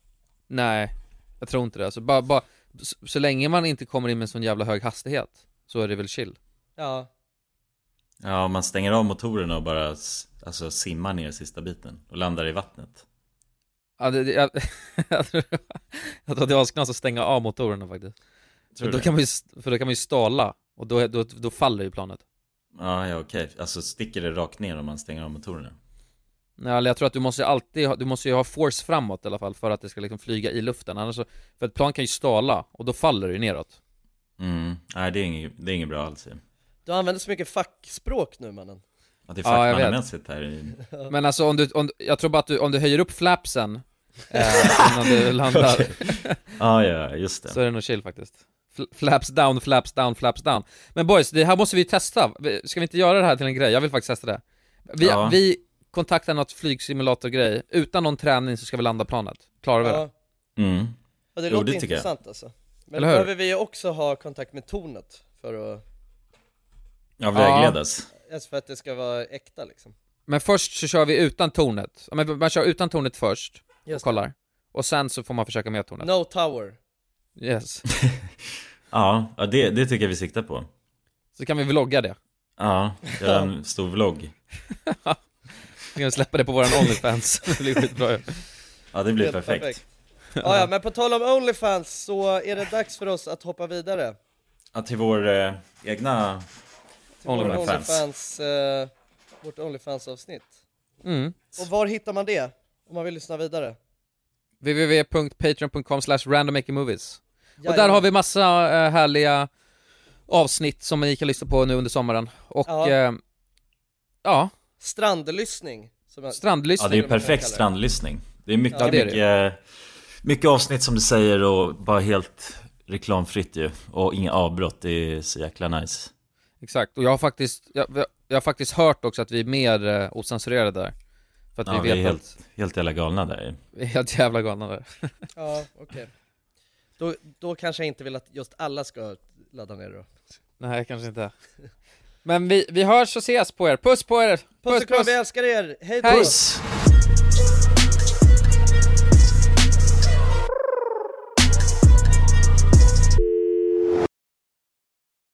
[SPEAKER 1] Nej, jag tror inte det. Alltså, bara, bara, så, så länge man inte kommer in med en sån jävla hög hastighet så är det väl chill.
[SPEAKER 3] Ja,
[SPEAKER 2] Ja, man stänger av motorerna och bara s- alltså, simmar ner sista biten och landar i vattnet.
[SPEAKER 1] Ja, det, det, jag, (laughs) jag tror jag tror att det är asknas att stänga av motorerna faktiskt.
[SPEAKER 2] Tror
[SPEAKER 1] För
[SPEAKER 2] du
[SPEAKER 1] då,
[SPEAKER 2] det?
[SPEAKER 1] kan man ju, st- för då kan man ju stala och då, då, då faller ju planet.
[SPEAKER 2] Ja, ja okej. Alltså sticker det rakt ner om man stänger av motorerna?
[SPEAKER 1] Nej, eller jag tror att du måste alltid ha, du måste ju ha force framåt i alla fall för att det ska liksom flyga i luften, annars så, för ett plan kan ju stala och då faller det ju neråt.
[SPEAKER 2] Mm. Nej, det är inget, det är inget bra alls ju.
[SPEAKER 3] du använder så mycket fackspråk nu mannen.
[SPEAKER 2] Ja, det är
[SPEAKER 1] Ja, jag vet.
[SPEAKER 2] fackmannamässigt här i...
[SPEAKER 1] Men alltså om du, om, jag tror bara att du, om du höjer upp flapsen eh, innan
[SPEAKER 2] (laughs)
[SPEAKER 1] du landar
[SPEAKER 2] Okej. Ja, ja, just det.
[SPEAKER 1] så är det nog chill faktiskt. Fl- Flaps down, flaps down, flaps down. Men boys, det här måste vi ju testa. Vi- Ska vi inte göra det här till en grej? Jag vill faktiskt testa det. Vi,
[SPEAKER 2] Ja.
[SPEAKER 1] vi kontaktar något flygsimulator-grej, utan någon träning så ska vi landa planet. Klarar vi det?
[SPEAKER 3] Ja,
[SPEAKER 2] Mm.
[SPEAKER 3] ja det
[SPEAKER 2] Jo,
[SPEAKER 3] låter
[SPEAKER 2] det tycker jag.
[SPEAKER 3] intressant alltså. Men
[SPEAKER 1] Eller hur?
[SPEAKER 3] behöver vi ju också ha kontakt med tornet för att,
[SPEAKER 2] Ja, vägledas.
[SPEAKER 3] alltså för att det ska vara äkta liksom.
[SPEAKER 1] Men först så kör vi utan tornet. Ja, men man kör utan tornet först och
[SPEAKER 3] Just det.
[SPEAKER 1] kollar. Och sen så får man försöka med tornet.
[SPEAKER 3] No (laughs) tower.
[SPEAKER 1] Yes.
[SPEAKER 2] Ja, ja det, det tycker jag vi siktar på.
[SPEAKER 1] Så kan vi vlogga det.
[SPEAKER 2] Ja, göra en stor vlogg.
[SPEAKER 1] Vi kan släppa det på
[SPEAKER 3] (laughs)
[SPEAKER 1] våran Onlyfans. Det blir skitbra ju.
[SPEAKER 2] Ja, det blir
[SPEAKER 3] Helt
[SPEAKER 2] perfekt.
[SPEAKER 3] perfekt. Ja, ja, men på tal om Onlyfans så är det dags för oss att hoppa vidare.
[SPEAKER 2] Ja, till vår eh, egna
[SPEAKER 3] Till vår Onlyfans, eh, vårt Onlyfans-avsnitt.
[SPEAKER 1] Mm.
[SPEAKER 3] Och var hittar man det? Om man vill lyssna vidare?
[SPEAKER 1] www.patreon.com slash randommakingmovies. Och där
[SPEAKER 3] Jajamän.
[SPEAKER 1] har vi massa eh, härliga avsnitt som ni kan lyssna på nu under sommaren. Och
[SPEAKER 3] Ja.
[SPEAKER 1] eh, ja,
[SPEAKER 3] Strandlyssning. Som jag-
[SPEAKER 1] Strandlyssning.
[SPEAKER 2] Ja, det är ju
[SPEAKER 3] eller vad man
[SPEAKER 2] perfekt
[SPEAKER 3] kallar
[SPEAKER 2] strandlyssning. Det är mycket,
[SPEAKER 1] Ja, det är det.
[SPEAKER 2] mycket, mycket avsnitt som du säger och bara helt reklamfritt ju. Och inga avbrott, det är så jäkla nice.
[SPEAKER 1] exakt. Och jag har faktiskt, jag, jag- jag har faktiskt hört också att vi är mer eh, ocensurerade där. För att
[SPEAKER 2] Ja,
[SPEAKER 1] vi
[SPEAKER 2] vi är
[SPEAKER 1] vet att
[SPEAKER 2] helt, helt jävla galna där ju.
[SPEAKER 1] vi är helt jävla galna där.
[SPEAKER 3] det. Ja, okej. Då, då kanske jag inte vill att just alla ska ladda ner det då.
[SPEAKER 1] Nej, kanske inte. Men vi, vi hörs och ses på er. Puss på er!
[SPEAKER 3] Puss och kram, vi älskar er! Hej då!
[SPEAKER 1] Hej.
[SPEAKER 2] Puss!